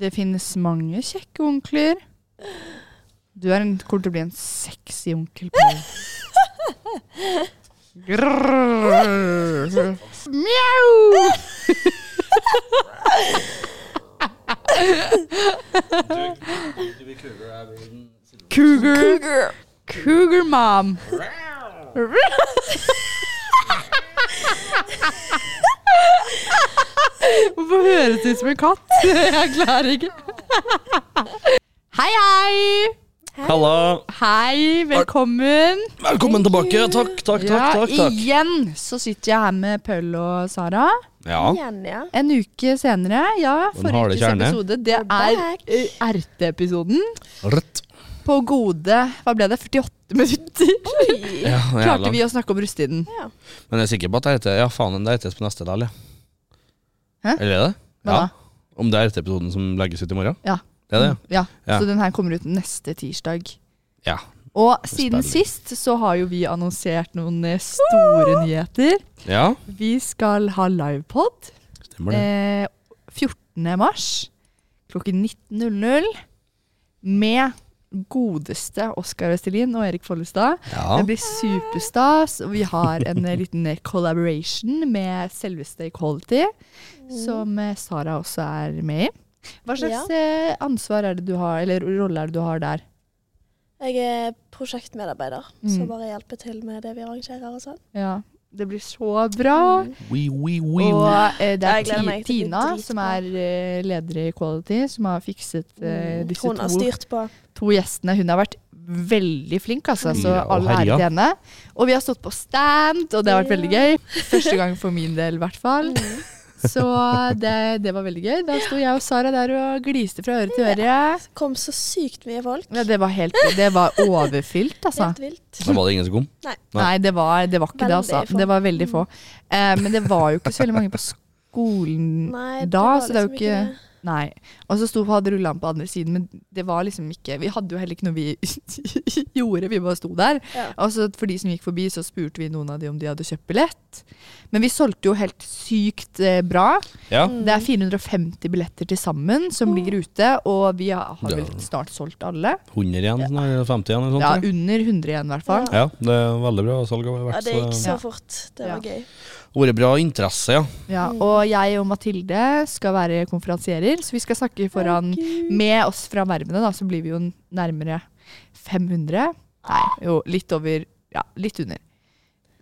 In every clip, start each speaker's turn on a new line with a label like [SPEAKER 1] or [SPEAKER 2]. [SPEAKER 1] Det finnes mange kjekke onkler. Du er en, kommer til å bli en sexy onkel. Paul. Grrrr. Mjau!
[SPEAKER 2] Du blir cougar, jeg blir en silver.
[SPEAKER 1] Cougar.
[SPEAKER 3] Cougar.
[SPEAKER 1] Cougar mom. Hvorfor høres det ut som en katt? Jeg klarer ikke. Hei, hei!
[SPEAKER 2] Halla!
[SPEAKER 1] Hei, velkommen.
[SPEAKER 2] Velkommen tilbake. Takk, takk, takk. takk,
[SPEAKER 1] Ja,
[SPEAKER 2] takk.
[SPEAKER 1] igjen så sitter jeg her med Paul og Sara.
[SPEAKER 2] Ja.
[SPEAKER 3] Igjen, ja.
[SPEAKER 1] En uke senere, ja,
[SPEAKER 2] Den
[SPEAKER 1] forrige
[SPEAKER 2] harde
[SPEAKER 1] ukes
[SPEAKER 2] kjerne.
[SPEAKER 1] episode, det er
[SPEAKER 3] back.
[SPEAKER 1] eh, RT-episoden.
[SPEAKER 2] Rødt.
[SPEAKER 1] På gode, hva ble det, 48 minutter?
[SPEAKER 2] Ja, det er
[SPEAKER 1] Klarte
[SPEAKER 2] langt.
[SPEAKER 1] vi å snakke om rusttiden?
[SPEAKER 3] Ja.
[SPEAKER 2] Men jeg er sikker på at det heter Ja, faen, det heter på neste dag, ja.
[SPEAKER 1] Hæ?
[SPEAKER 2] Eller er det?
[SPEAKER 1] Hva da?
[SPEAKER 2] Om det er RT-episoden som legges ut i morgen?
[SPEAKER 1] Ja.
[SPEAKER 2] Det er det,
[SPEAKER 1] Ja,
[SPEAKER 2] Ja.
[SPEAKER 1] så den her kommer ut neste tirsdag.
[SPEAKER 2] ja.
[SPEAKER 1] Og siden
[SPEAKER 2] Spennende.
[SPEAKER 1] sist så har jo vi annonsert noen eh, store nyheter.
[SPEAKER 2] Ja. ja.
[SPEAKER 1] Vi skal ha livepod
[SPEAKER 2] Stemmer det.
[SPEAKER 1] eh, 14. mars klokken 19.00 med godeste Oskar Østelin og Erik Follestad.
[SPEAKER 2] Ja.
[SPEAKER 1] Eh, Det blir superstas, og vi har en eh, liten eh, collaboration med selveste Equality, som eh, Sara også er med i. Hva slags eh, ansvar er det du har, eller rolle er det du har der?
[SPEAKER 3] Jeg er prosjektmedarbeider,
[SPEAKER 1] Mm.
[SPEAKER 3] så bare hjelper til med det vi arrangerer og sånn.
[SPEAKER 1] Ja, det blir så bra.
[SPEAKER 2] Oui, oui, oui,
[SPEAKER 1] Og
[SPEAKER 2] oui.
[SPEAKER 1] eh, det er
[SPEAKER 3] Jeg gleder
[SPEAKER 1] Ti-
[SPEAKER 3] meg til det blir
[SPEAKER 1] Tina,
[SPEAKER 3] dritbra.
[SPEAKER 1] som er eh, leder i Quality, som har fikset eh,
[SPEAKER 3] Mm.
[SPEAKER 1] disse
[SPEAKER 3] Hun har
[SPEAKER 1] to,
[SPEAKER 3] styrt på.
[SPEAKER 1] to gjestene. Hun har vært veldig flink, altså, så
[SPEAKER 2] Ja, og
[SPEAKER 1] all ære
[SPEAKER 2] herja.
[SPEAKER 1] til henne. Og vi har stått på stand, og det har vært veldig
[SPEAKER 3] Ja. Mm.
[SPEAKER 1] gøy. Første gang for min del, i hvert fall. Så det, det var veldig gøy. Da sto jeg og Sara der og gliste fra øre til øre.
[SPEAKER 3] Kom så sykt mye folk.
[SPEAKER 1] Ja, det var helt Det var overfylt, altså.
[SPEAKER 3] Helt vilt.
[SPEAKER 2] Da var det ingen som kom? Nei.
[SPEAKER 1] Nei, det var, det var ikke det,
[SPEAKER 3] Veldig
[SPEAKER 1] altså.
[SPEAKER 3] få.
[SPEAKER 1] Det var veldig få. Eh, men det var jo ikke så veldig mange på skolen
[SPEAKER 3] Nei,
[SPEAKER 1] da,
[SPEAKER 3] var
[SPEAKER 1] så det er jo
[SPEAKER 3] liksom
[SPEAKER 1] ikke Nei. Og så sto hadde rullene på andre siden, men det var liksom ikke Vi hadde jo heller ikke noe vi gjorde, vi bare sto der.
[SPEAKER 3] Ja.
[SPEAKER 1] Og så for de som gikk forbi, så spurte vi noen av de om de hadde kjøpt billett. Men vi solgte jo helt sykt eh, bra.
[SPEAKER 2] Ja.
[SPEAKER 1] Det er 450 billetter til sammen som ligger ute, og vi har, har vel
[SPEAKER 2] Ja.
[SPEAKER 1] snart solgt alle.
[SPEAKER 2] 100 igjen, sånn, eller 50 igjen, eller
[SPEAKER 1] Ja,
[SPEAKER 2] sånt.
[SPEAKER 1] under 100 igjen, i hvert fall.
[SPEAKER 2] Ja, det er veldig bra salg. har
[SPEAKER 3] Ja,
[SPEAKER 2] vært,
[SPEAKER 3] det gikk
[SPEAKER 2] så-
[SPEAKER 3] så
[SPEAKER 1] Ja.
[SPEAKER 3] fort. Det var gøy.
[SPEAKER 2] Vært bra interesse, ja.
[SPEAKER 1] Ja,
[SPEAKER 3] Mm.
[SPEAKER 1] og jeg og Mathilde skal være konferansierer, så vi skal snakke foran med oss fra vervene, da, så blir vi jo nærmere 500. Nei, jo, litt over, ja, litt under.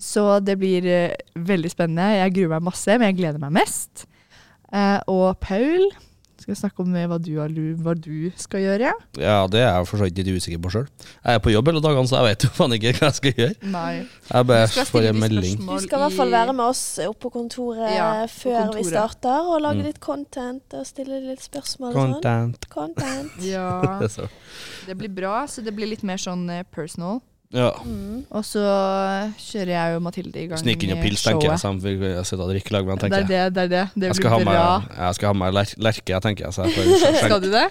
[SPEAKER 1] Så det blir eh, veldig spennende. Jeg gruer meg masse, men jeg gleder meg mest. Eh, og Paul skal snakke om eh, hva du, har lu- hva du skal gjøre.
[SPEAKER 2] Ja, det er jeg for så vidt litt usikker på sjøl. Jeg er på jobb hele dagene, så jeg vet jo faen ikke hva jeg skal gjøre.
[SPEAKER 1] Nei.
[SPEAKER 2] Jeg bare får en melding.
[SPEAKER 3] Du skal i hvert fall være med oss oppe på kontoret
[SPEAKER 1] Ja, på
[SPEAKER 3] før
[SPEAKER 1] kontoret.
[SPEAKER 3] vi starter, og lage
[SPEAKER 2] Mm.
[SPEAKER 3] litt content og stille litt spørsmål. og sånn.
[SPEAKER 2] Content.
[SPEAKER 3] Content.
[SPEAKER 1] Ja,
[SPEAKER 2] Det er så-
[SPEAKER 1] det blir bra. Så det blir litt mer sånn eh, personal.
[SPEAKER 2] Ja.
[SPEAKER 3] Mm.
[SPEAKER 1] Og så kjører jeg og Mathilde i gang
[SPEAKER 2] Snike inn og pils, tenker jeg. sånn, Sammen vil jeg sitte og drikke i lag med han,
[SPEAKER 1] Det er
[SPEAKER 2] tenker jeg.
[SPEAKER 1] det, det er det. Det
[SPEAKER 2] Jeg skal ha
[SPEAKER 1] blir bra.
[SPEAKER 2] med, jeg skal ha med ler lerke, jeg, tenker jeg. Så jeg, får,
[SPEAKER 1] Skal
[SPEAKER 2] skjenke-
[SPEAKER 1] du det?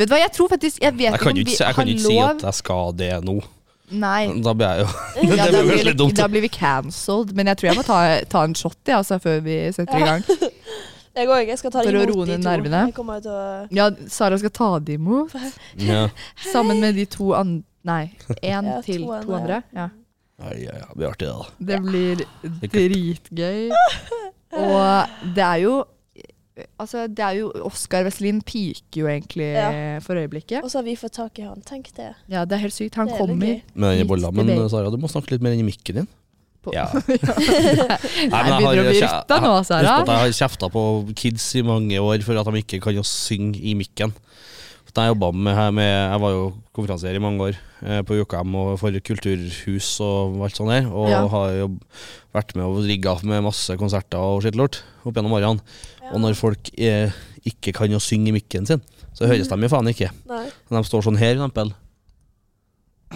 [SPEAKER 1] Vet du hva, jeg tror faktisk Jeg vet
[SPEAKER 2] jeg kan jo
[SPEAKER 1] om
[SPEAKER 2] ikke,
[SPEAKER 1] vi
[SPEAKER 2] si- jeg kan jo ikke
[SPEAKER 1] har
[SPEAKER 2] si
[SPEAKER 1] lov
[SPEAKER 2] at jeg skal det nå.
[SPEAKER 1] Nei.
[SPEAKER 2] Da blir jeg jo
[SPEAKER 1] Ja,
[SPEAKER 2] Det
[SPEAKER 1] da,
[SPEAKER 2] blir
[SPEAKER 1] blir
[SPEAKER 2] veldig
[SPEAKER 1] vi,
[SPEAKER 2] dumt.
[SPEAKER 1] da blir vi cancelled. Men jeg tror jeg må ta, ta en shot jeg, altså, før vi setter i gang.
[SPEAKER 3] Jeg òg. Jeg skal ta
[SPEAKER 1] For
[SPEAKER 3] det
[SPEAKER 1] å
[SPEAKER 3] imot
[SPEAKER 1] roe
[SPEAKER 3] de
[SPEAKER 1] ned
[SPEAKER 3] to.
[SPEAKER 1] nervene.
[SPEAKER 3] Jeg kommer til å
[SPEAKER 1] Ja, Sara skal ta det imot.
[SPEAKER 2] ja.
[SPEAKER 1] Sammen med de to an... Nei, én
[SPEAKER 3] Ja,
[SPEAKER 1] til
[SPEAKER 3] to
[SPEAKER 1] to andre.
[SPEAKER 3] andre.
[SPEAKER 1] Ja.
[SPEAKER 2] Ja, ja, ja, det blir artig, det. da.
[SPEAKER 1] Det blir dritgøy. Og det er jo Altså, det er jo Oskar Wesselin piker jo egentlig
[SPEAKER 3] Ja.
[SPEAKER 1] for øyeblikket.
[SPEAKER 3] Og så har vi fått tak i han. Tenk det.
[SPEAKER 1] Ja, det er helt sykt. Han
[SPEAKER 3] Det er litt
[SPEAKER 1] kommer
[SPEAKER 3] gøy.
[SPEAKER 2] Med denne
[SPEAKER 1] Midt
[SPEAKER 2] bolla.
[SPEAKER 1] i
[SPEAKER 2] Men
[SPEAKER 1] vei.
[SPEAKER 2] Sara, du må snakke litt mer inn i mikken din.
[SPEAKER 1] på
[SPEAKER 2] Ja. Nei,
[SPEAKER 1] Nei,
[SPEAKER 2] men
[SPEAKER 1] begynner å bli
[SPEAKER 2] jeg har-
[SPEAKER 1] rutta nå,
[SPEAKER 2] Husk
[SPEAKER 1] Sara.
[SPEAKER 2] på at jeg har kjefta på kids i mange år for at de ikke kan å synge i mikken. Da jeg jobbet med, her med Jeg var jo konferansier i mange år eh, på UKM og for kulturhus og alt sånt der. Og
[SPEAKER 1] Ja.
[SPEAKER 2] har jo vært med og rigga med masse konserter og skittlort opp gjennom årene. Og når folk eh, ikke kan å synge i mikken sin, så høres de jo faen ikke.
[SPEAKER 3] Nei.
[SPEAKER 2] Men de står sånn her, for eksempel.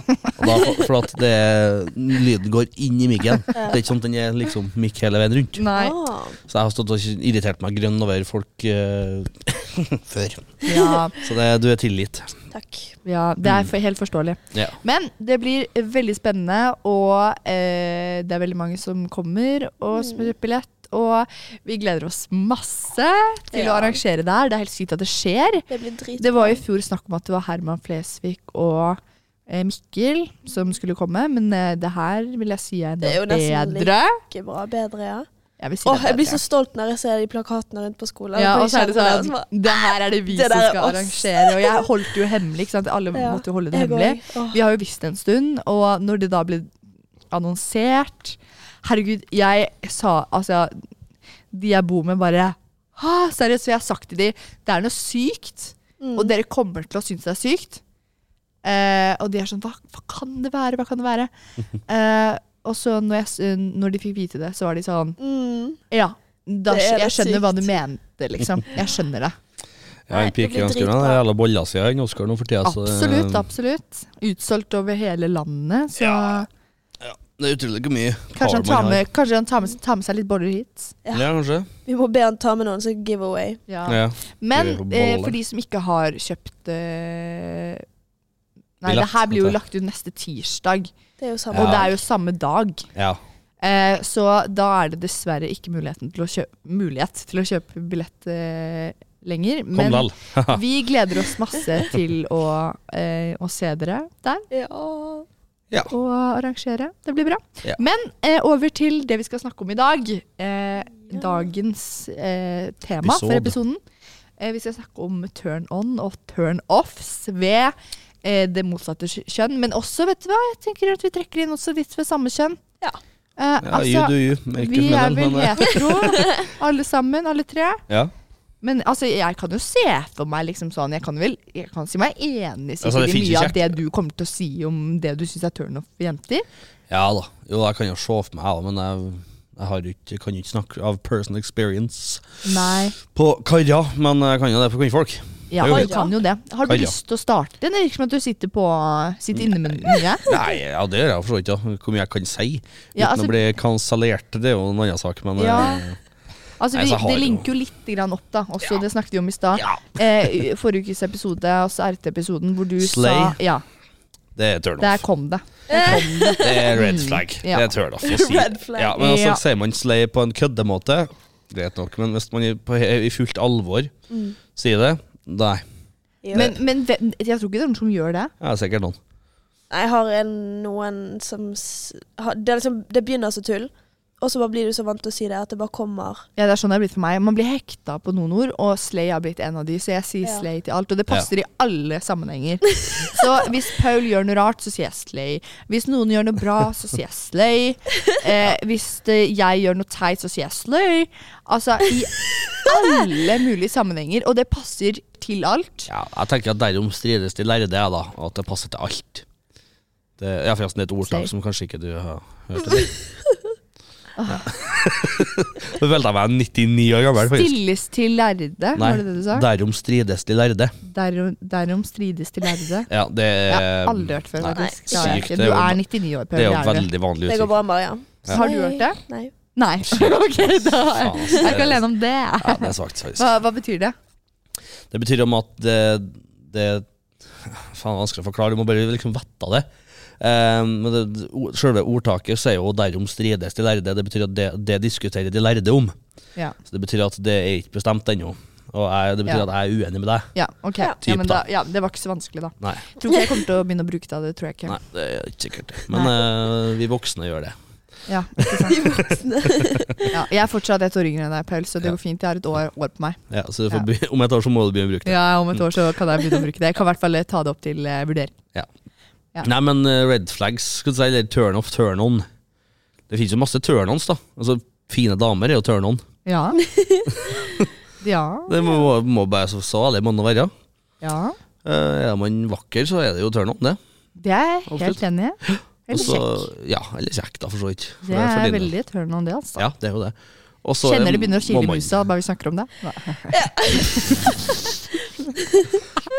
[SPEAKER 2] Og da, for at det, lyden går inn i mikken. Det er ikke sånn at den er liksom mikk hele veien rundt.
[SPEAKER 1] Nei.
[SPEAKER 3] Ah.
[SPEAKER 2] Så jeg har stått og irritert meg grønn over folk eh, før.
[SPEAKER 1] Ja,
[SPEAKER 2] Så det, du er tilgitt.
[SPEAKER 3] Takk.
[SPEAKER 1] ja, det er for, helt forståelig.
[SPEAKER 2] Mm. Ja.
[SPEAKER 1] Men det blir
[SPEAKER 3] Mm.
[SPEAKER 1] veldig spennende, og eh, det er veldig mange som kommer og som har kjøpt billett. og vi gleder oss masse til å
[SPEAKER 3] Ja.
[SPEAKER 1] arrangere der. Det er helt sykt at det skjer.
[SPEAKER 3] Det blir dritbra.
[SPEAKER 1] Det var i fjor snakk om at det var Herman Flesvig og eh, Mikkel som skulle komme, men eh, det her vil jeg si er
[SPEAKER 3] Det er jo
[SPEAKER 1] enda
[SPEAKER 3] nesten
[SPEAKER 1] bedre.
[SPEAKER 3] Ikke bra, bedre, ja.
[SPEAKER 1] Jeg vil si
[SPEAKER 3] Åh,
[SPEAKER 1] det er
[SPEAKER 3] jeg blir
[SPEAKER 1] bedre.
[SPEAKER 3] så stolt når jeg ser de plakatene rundt på skolen.
[SPEAKER 1] ja,
[SPEAKER 3] For
[SPEAKER 1] og så er
[SPEAKER 3] jeg
[SPEAKER 1] det
[SPEAKER 3] kjenner
[SPEAKER 1] sånn
[SPEAKER 3] det, og så
[SPEAKER 1] Det her er det vi
[SPEAKER 3] Det
[SPEAKER 1] som
[SPEAKER 3] der er
[SPEAKER 1] skal
[SPEAKER 3] oss.
[SPEAKER 1] arrangere. Og jeg holdt det jo hemmelig. Ikke sant? Alle
[SPEAKER 3] Ja,
[SPEAKER 1] måtte jo holde
[SPEAKER 3] bare-
[SPEAKER 1] det
[SPEAKER 3] jeg
[SPEAKER 1] hemmelig.
[SPEAKER 3] går. Åh,
[SPEAKER 1] Vi har jo visst det en stund, og når det da ble annonsert Herregud, jeg sa altså De jeg bor med, bare Hæ, seriøst? Så jeg har sagt til de det er noe sykt,
[SPEAKER 3] mm.
[SPEAKER 1] og dere kommer til å synes det er sykt. Eh, og de er sånn hva, hva kan det være? Hva kan det være? Eh, og så når, jeg, s- når de fikk vite det, så var de sånn
[SPEAKER 3] Mm.
[SPEAKER 1] Ja, da,
[SPEAKER 3] Det er
[SPEAKER 1] jeg
[SPEAKER 3] det
[SPEAKER 1] skjønner hva
[SPEAKER 3] sykt.
[SPEAKER 1] du mente, liksom. Jeg skjønner det.
[SPEAKER 2] Jeg har
[SPEAKER 3] Nei,
[SPEAKER 2] en pike
[SPEAKER 3] det blir
[SPEAKER 2] i ønskerommet.
[SPEAKER 3] dritbra.
[SPEAKER 2] Det er jævla boller siden enn Oscar nå for tida. så det-
[SPEAKER 1] Absolutt, absolutt. Utsolgt over hele landet, så
[SPEAKER 2] eh, Ja. Det er utrolig hvor mye
[SPEAKER 1] Kanskje han,
[SPEAKER 2] power man
[SPEAKER 1] tar med, kanskje han tar, med, tar med seg litt boller hit.
[SPEAKER 2] har. Ja, kanskje.
[SPEAKER 3] Vi må be han ta med noen som giveaway.
[SPEAKER 2] Ja.
[SPEAKER 1] Men
[SPEAKER 2] Gøy på
[SPEAKER 1] eh,
[SPEAKER 2] boller.
[SPEAKER 1] for de som ikke har kjøpt eh, Nei, det
[SPEAKER 2] Billett,
[SPEAKER 1] her blir jo
[SPEAKER 2] vet
[SPEAKER 1] lagt ut neste tirsdag,
[SPEAKER 3] Det er jo samme.
[SPEAKER 1] og det
[SPEAKER 2] Ja.
[SPEAKER 1] er jo samme dag.
[SPEAKER 2] ja.
[SPEAKER 1] Eh, så da er det dessverre ikke muligheten til å kjøpe, mulighet til å kjøpe billett eh, lenger.
[SPEAKER 2] Kom
[SPEAKER 1] Men
[SPEAKER 2] lall.
[SPEAKER 1] vi gleder oss masse til å, eh, å se dere der.
[SPEAKER 3] Ja.
[SPEAKER 1] å arrangere. Det blir bra.
[SPEAKER 2] Ja.
[SPEAKER 1] Men eh, over til det vi skal snakke om i dag. Eh, Dagens eh, tema for
[SPEAKER 2] Episode.
[SPEAKER 1] episoden. Eh, vi skal snakke om turn on og turn offs ved eh, det motsatte kj- kjønn. Men også, vet du hva, jeg tenker at vi trekker inn også litt ved samme kjønn.
[SPEAKER 3] Ja.
[SPEAKER 1] Eh,
[SPEAKER 2] Ja, you do
[SPEAKER 1] altså,
[SPEAKER 2] you. Merker
[SPEAKER 1] vi
[SPEAKER 2] med
[SPEAKER 1] er
[SPEAKER 2] den,
[SPEAKER 1] vel
[SPEAKER 2] men, eh,
[SPEAKER 1] hetero, alle sammen, alle tre.
[SPEAKER 2] ja.
[SPEAKER 1] Men altså, jeg kan jo se for meg liksom sånn Jeg kan vel jeg kan si meg enig
[SPEAKER 2] Altså,
[SPEAKER 1] sikkert
[SPEAKER 2] det
[SPEAKER 1] i
[SPEAKER 2] finnes jo
[SPEAKER 1] mye av
[SPEAKER 2] kjekt.
[SPEAKER 1] det du kommer til å si om det du syns er turn off for jenter.
[SPEAKER 2] ja da. Jo, jeg kan jo se for meg, jeg òg, men jeg, jeg har jo ikke, kan jo ikke snakke av personal experience
[SPEAKER 1] Nei.
[SPEAKER 2] på karer. Men jeg kan jo det for kvinnfolk.
[SPEAKER 1] Ja,
[SPEAKER 2] Det er jo
[SPEAKER 1] man
[SPEAKER 2] greit.
[SPEAKER 1] kan jo det. Har du
[SPEAKER 2] Kan, ja.
[SPEAKER 1] lyst til å starte? Det virker som at du sitter, på, sitter inne med mye.
[SPEAKER 2] Nei, ja, det gjør jeg for så vidt, ja. Hvor mye jeg kan si uten
[SPEAKER 1] Ja, altså-
[SPEAKER 2] å bli kansellert, det er jo en annen sak, men eh,
[SPEAKER 1] Ja. Altså,
[SPEAKER 2] Nei,
[SPEAKER 1] vi,
[SPEAKER 2] så har
[SPEAKER 1] det
[SPEAKER 2] jo-
[SPEAKER 1] linker jo litt grann opp, da. Også,
[SPEAKER 2] Ja.
[SPEAKER 1] Det snakket vi om i stad.
[SPEAKER 2] ja.
[SPEAKER 1] Eh, forrige ukes episode, altså RT-episoden, hvor du
[SPEAKER 2] Slay.
[SPEAKER 1] sa Ja,
[SPEAKER 2] Det er turn
[SPEAKER 1] der
[SPEAKER 2] off.
[SPEAKER 1] kom det.
[SPEAKER 2] Det er red flag.
[SPEAKER 1] Ja.
[SPEAKER 2] Det er turn off å si.
[SPEAKER 3] Red flag.
[SPEAKER 2] Ja, men altså,
[SPEAKER 1] Ja.
[SPEAKER 2] sier man slay på en køddemåte, greit nok, men hvis man i- på, he- i fullt alvor
[SPEAKER 3] Mm.
[SPEAKER 2] sier det, nei.
[SPEAKER 3] Jo.
[SPEAKER 1] Men, men ve- jeg tror ikke det er noen som gjør det.
[SPEAKER 2] Det er sikkert noen.
[SPEAKER 3] Jeg har en, noen som s- har, det, er liksom, det begynner så tull, og så bare blir du så vant til å si det at det bare kommer.
[SPEAKER 1] Ja, det er sånn det er blitt for meg. Man blir hekta på noen ord, og slay har blitt en av de, så jeg sier
[SPEAKER 3] Ja.
[SPEAKER 1] slay til alt. Og det passer i alle sammenhenger. Så hvis Paul gjør noe rart, så sier jeg slay. Hvis noen gjør noe bra, så sier jeg slay. Eh, hvis det, jeg gjør noe teit, så sier jeg slay. Altså i alle mulige sammenhenger, og det passer til alt.
[SPEAKER 2] Ja, jeg tenker at derom strides de lærde, jeg, da. og At det passer til alt. Det er forresten et ordtak
[SPEAKER 1] Slay.
[SPEAKER 2] som kanskje ikke du har hørt. Eller?
[SPEAKER 1] Ah.
[SPEAKER 2] Ja. Nå følte jeg meg 99 år gammel, faktisk.
[SPEAKER 1] Stilles til lærde,
[SPEAKER 2] Nei,
[SPEAKER 1] var det det du sa?
[SPEAKER 2] derom strides de lærde.
[SPEAKER 1] Derom, derom strides til lærde.
[SPEAKER 2] Ja, det
[SPEAKER 1] Jeg
[SPEAKER 2] er
[SPEAKER 1] har aldri hørt før,
[SPEAKER 2] Eh, Nei,
[SPEAKER 1] faktisk.
[SPEAKER 3] Nei,
[SPEAKER 1] Klarer jeg
[SPEAKER 2] sykt.
[SPEAKER 1] ikke.
[SPEAKER 2] Det er
[SPEAKER 1] Du
[SPEAKER 2] jo-
[SPEAKER 1] er 99 år,
[SPEAKER 2] Det
[SPEAKER 1] Paul.
[SPEAKER 2] er jo
[SPEAKER 1] er
[SPEAKER 2] et
[SPEAKER 1] du.
[SPEAKER 2] veldig vanlig
[SPEAKER 3] Det går
[SPEAKER 2] uttrykk.
[SPEAKER 3] bra, Mariam.
[SPEAKER 2] Ja.
[SPEAKER 1] Har du hørt det?
[SPEAKER 3] Nei.
[SPEAKER 1] Nei. ok, da
[SPEAKER 2] Faen, altså. ass,
[SPEAKER 1] Jeg
[SPEAKER 2] det-
[SPEAKER 1] kan lene om det.
[SPEAKER 2] Ja, det er svakt, faktisk.
[SPEAKER 1] Hva, hva betyr det?
[SPEAKER 2] Det betyr om at det, det Faen, vanskelig å forklare, du må bare liksom vette av det. Eh, men det, o- selve ordtaket sier jo 'derom strides de lærde'. Det betyr at det, det diskuterer de lærde om.
[SPEAKER 1] Ja,
[SPEAKER 2] Så Det betyr at det er ikke bestemt ennå. Og jeg, det betyr
[SPEAKER 1] Ja.
[SPEAKER 2] at jeg er uenig med deg.
[SPEAKER 1] ja ok.
[SPEAKER 3] Ja.
[SPEAKER 1] Ja.
[SPEAKER 2] Typ,
[SPEAKER 1] men da, ja, det var ikke så vanskelig, da.
[SPEAKER 2] Nei,
[SPEAKER 1] Tror ikke jeg kommer til å begynne å bruke det. det tror jeg ikke.
[SPEAKER 2] nei det er ikke sikkert. Men eh, vi voksne gjør det.
[SPEAKER 1] Ja, ikke sant? ja, jeg er fortsatt et år yngre enn deg, Paul, så det
[SPEAKER 2] Ja.
[SPEAKER 1] går fint. Jeg har et år, år på meg.
[SPEAKER 2] Ja, så du får, be- om et år så må du begynne å bruke det.
[SPEAKER 1] Ja, Om et år
[SPEAKER 2] Mm.
[SPEAKER 1] så kan jeg begynne å bruke det. Jeg kan i hvert fall eh, ta det opp til eh, vurdering. Ja.
[SPEAKER 2] Nei, men eh, red flags, skal du si, eller turn off, turn on. Det finnes jo masse turn-ons, da. Altså, Fine damer er jo turn on.
[SPEAKER 1] Ja. Ja.
[SPEAKER 2] Det må, må bare så, så ærlig må man være.
[SPEAKER 1] ja.
[SPEAKER 2] Eh, er man vakker, så er det jo turn on, det.
[SPEAKER 1] Det er jeg helt
[SPEAKER 2] Absolutt.
[SPEAKER 1] enig i. Helt
[SPEAKER 2] Også-
[SPEAKER 1] kjekk.
[SPEAKER 2] Ja, eller kjekk, da, for så vidt. For
[SPEAKER 1] Det
[SPEAKER 2] er for
[SPEAKER 1] er
[SPEAKER 2] din del.
[SPEAKER 1] veldig turn on, det, altså.
[SPEAKER 2] Ja, det er jo det. Også,
[SPEAKER 1] Kjenner det begynner å kile i
[SPEAKER 2] må man-
[SPEAKER 1] musa bare vi snakker om det. Nei.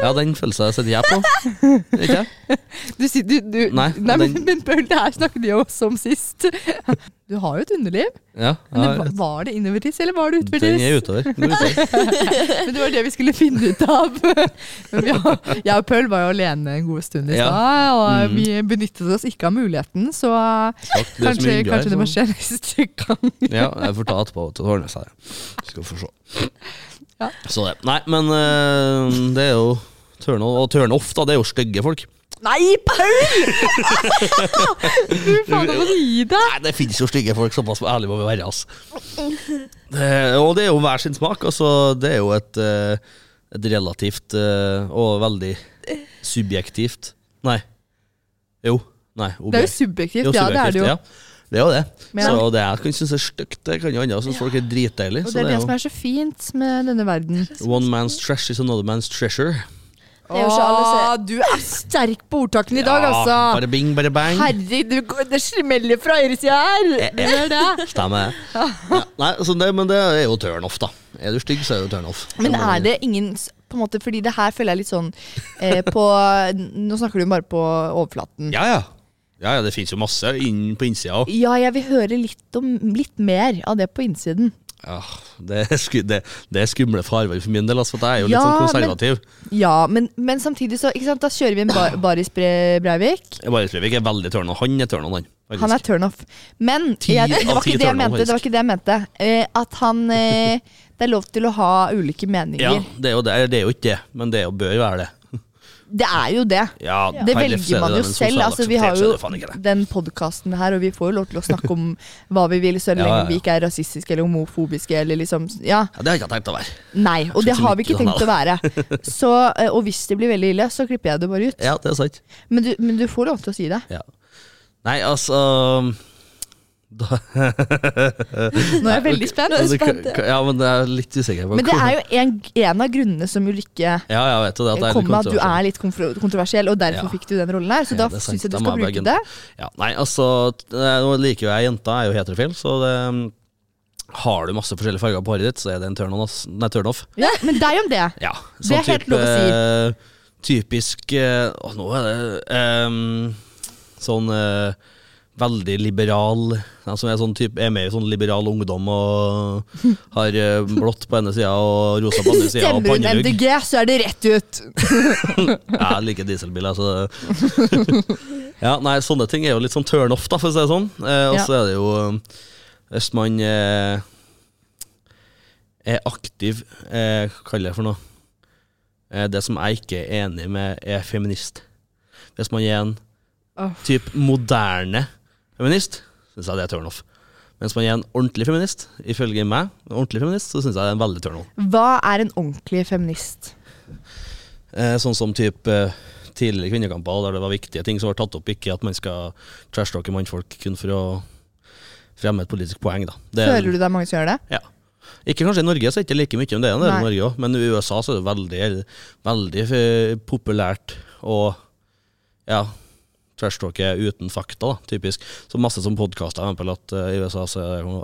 [SPEAKER 2] Ja, den følelsen sitter jeg på. Ikke jeg?
[SPEAKER 1] Du, sier- du, du,
[SPEAKER 2] Nei,
[SPEAKER 1] men,
[SPEAKER 2] den-
[SPEAKER 1] men Paul, det her snakket vi jo også om sist. Du har jo et underliv.
[SPEAKER 2] Ja,
[SPEAKER 1] Men det,
[SPEAKER 2] ja,
[SPEAKER 1] var- var det innovertiss, eller var det utvertiss?
[SPEAKER 2] den er utover. Den er utover.
[SPEAKER 1] Men det var det vi skulle finne ut av. Men vi har, jeg og Pøl var jo alene en god stund i
[SPEAKER 2] Ja.
[SPEAKER 1] stad, og
[SPEAKER 2] Mm.
[SPEAKER 1] vi benyttet oss ikke av muligheten, så
[SPEAKER 2] Takk, det er så mye
[SPEAKER 1] kanskje,
[SPEAKER 2] hygge her,
[SPEAKER 1] kanskje det må
[SPEAKER 2] så-
[SPEAKER 1] skje neste gang.
[SPEAKER 2] Ja, jeg får ta etterpå. Det ordner seg. Skal få se.
[SPEAKER 1] Ja.
[SPEAKER 2] Så det. Nei, men eh, det er jo turn on. Og turn off, da. Det er jo stygge folk.
[SPEAKER 1] Nei, Pøl! Du faen, nå må du gi deg.
[SPEAKER 2] Nei, det finnes jo stygge folk. Såpass ærlig må vi være, altså. Det- Og det er jo hver sin smak. Altså, det er jo et, eh, et relativt eh, og veldig subjektivt Nei. Jo. Nei.
[SPEAKER 1] Det er jo
[SPEAKER 2] objekt-
[SPEAKER 1] subjektivt, ja det er det jo.
[SPEAKER 2] Ja. Det er jo det.
[SPEAKER 1] Men-
[SPEAKER 2] Så det jeg kan synes er stygt, det kan jo andre synes folk er dritdeilig.
[SPEAKER 1] Og
[SPEAKER 2] Så
[SPEAKER 1] det er det
[SPEAKER 2] jo
[SPEAKER 1] som er så fint med denne verden.
[SPEAKER 2] One man's trash is another man's treasure.
[SPEAKER 3] er jo ikke alle som-
[SPEAKER 1] Åh, Ah, du er sterk på ordtakene i dag,
[SPEAKER 2] Ja,
[SPEAKER 1] altså.
[SPEAKER 2] bare bing, bare bang.
[SPEAKER 1] Herregud, du- det smeller fra høyresida
[SPEAKER 2] Eh,
[SPEAKER 1] her. Det gjør det.
[SPEAKER 2] Stemmer. Ja, nei, så det, men det er jo turn off, da. Er du stygg, så er det jo turn off.
[SPEAKER 1] Men er det ingen s- på en måte, Fordi det her føler jeg litt sånn eh, på Nå snakker du bare på overflaten.
[SPEAKER 2] Ja, ja. Ja, ja, det finnes jo masse inn på innsida òg.
[SPEAKER 1] Ja, jeg vil høre litt, om, litt mer av det på innsiden.
[SPEAKER 2] Ja, det, er sku- det, det er skumle farvann for min del, altså, for jeg er jo litt
[SPEAKER 1] Ja,
[SPEAKER 2] sånn
[SPEAKER 1] men-
[SPEAKER 2] konservativ.
[SPEAKER 1] Ja, men, men samtidig så ikke sant, Da kjører vi en bar, baris Bre- Breivik.
[SPEAKER 2] Jeg bare tror ikke jeg er veldig turn on. Han er turn on, han. faktisk.
[SPEAKER 1] Han er turnoff. Men
[SPEAKER 2] Ti
[SPEAKER 1] jeg, det,
[SPEAKER 2] av
[SPEAKER 1] var
[SPEAKER 2] ti
[SPEAKER 1] ikke det, jeg
[SPEAKER 2] turn off,
[SPEAKER 1] mente, det var ikke det jeg mente. Eh, at han eh, Det er lov til å ha ulike meninger.
[SPEAKER 2] ja, det er, jo det, det er jo ikke det, men det er jo bør være det.
[SPEAKER 1] Det er jo det.
[SPEAKER 2] Ja,
[SPEAKER 1] Det
[SPEAKER 2] per lefse
[SPEAKER 1] velger
[SPEAKER 2] er det
[SPEAKER 1] man
[SPEAKER 2] det,
[SPEAKER 1] jo selv.
[SPEAKER 2] men sosialt
[SPEAKER 1] Altså, vi har
[SPEAKER 2] akseptert så er det
[SPEAKER 1] jo
[SPEAKER 2] faen ikke det.
[SPEAKER 1] den podkasten her, og vi får jo lov til å snakke om hva vi vil, så
[SPEAKER 2] Ja,
[SPEAKER 1] lenge
[SPEAKER 2] ja, ja.
[SPEAKER 1] vi ikke er rasistiske eller homofobiske eller liksom Ja.
[SPEAKER 2] Ja, det har jeg ikke tenkt å være.
[SPEAKER 1] Nei. Og
[SPEAKER 2] Jeg
[SPEAKER 1] det
[SPEAKER 2] synes
[SPEAKER 1] har vi
[SPEAKER 2] ikke
[SPEAKER 1] ikke tenkt å være. Så, eh, og hvis det blir veldig ille, så klipper jeg det bare ut.
[SPEAKER 2] Ja, det er sant.
[SPEAKER 1] Men du, men du får lov til å si det.
[SPEAKER 2] Ja. Nei, altså da,
[SPEAKER 1] Nå er jeg veldig spent.
[SPEAKER 2] Ja, det kan- kan- Ja, men det er litt usikker på
[SPEAKER 1] Men det er jo en, en av grunnene som Ulrikke eh,
[SPEAKER 2] Ja, jeg vet jo det. At det er
[SPEAKER 1] kom med, at du er
[SPEAKER 2] kontroversielt.
[SPEAKER 1] litt kontro- kontroversiell, og derfor
[SPEAKER 2] Ja.
[SPEAKER 1] fikk du den rollen her. Så
[SPEAKER 2] Ja, det
[SPEAKER 1] da
[SPEAKER 2] er sant.
[SPEAKER 1] syns jeg du
[SPEAKER 2] Da må
[SPEAKER 1] skal
[SPEAKER 2] jeg
[SPEAKER 1] bruke
[SPEAKER 2] bare
[SPEAKER 1] det.
[SPEAKER 2] Ja, nei, altså t- Nå liker jo jeg jenta, jeg er jo heterofil, så det mm, har du masse forskjellige farger på håret ditt, så er det en turn-on, ass. Nei, turn-off.
[SPEAKER 1] Ja, men deg om det.
[SPEAKER 2] Ja.
[SPEAKER 1] Det er helt lov å
[SPEAKER 2] si. Typisk eh, Å, nå er det em, sånn eh, veldig liberal ja, Som er, sånn typ, er med i sånn liberal ungdom og har eh, blått på ene sida og rosa på andre sida og
[SPEAKER 1] Stemmer hun
[SPEAKER 2] pannelugg.
[SPEAKER 1] MDG, så er det rett ut.
[SPEAKER 2] Jeg liker dieselbiler, så Ja, nei, sånne ting er jo litt sånn turn off, da, for å si det sånn. Eh, og
[SPEAKER 1] Ja.
[SPEAKER 2] så er det jo eh, Hvis man eh, er aktiv eh, Hva kaller jeg det for noe? Eh, det som jeg ikke er enig med, er feminist. Hvis man er en
[SPEAKER 1] Åh.
[SPEAKER 2] typ moderne feminist, syns jeg det er turn off. Mens man er en ordentlig feminist, ifølge meg, en ordentlig feminist, så syns jeg det er en veldig turn on.
[SPEAKER 1] Hva er en ordentlig feminist?
[SPEAKER 2] Eh, sånn som typ eh, tidligere kvinnekamper, der det var viktige ting som var tatt opp. Ikke at man skal trashtalke mannfolk kun for å fremme et politisk poeng, da. Det er,
[SPEAKER 1] Føler du det er mange som gjør det?
[SPEAKER 2] Ja. Ikke kanskje i Norge, så er det ikke like mye om det enn det er
[SPEAKER 1] Nei.
[SPEAKER 2] i Norge òg, men i USA så er det veldig, veldig eh, populært å ja, trashtalke uten fakta, da, typisk. Så masse som podkaster, eksempel at eh, i USA så er det jo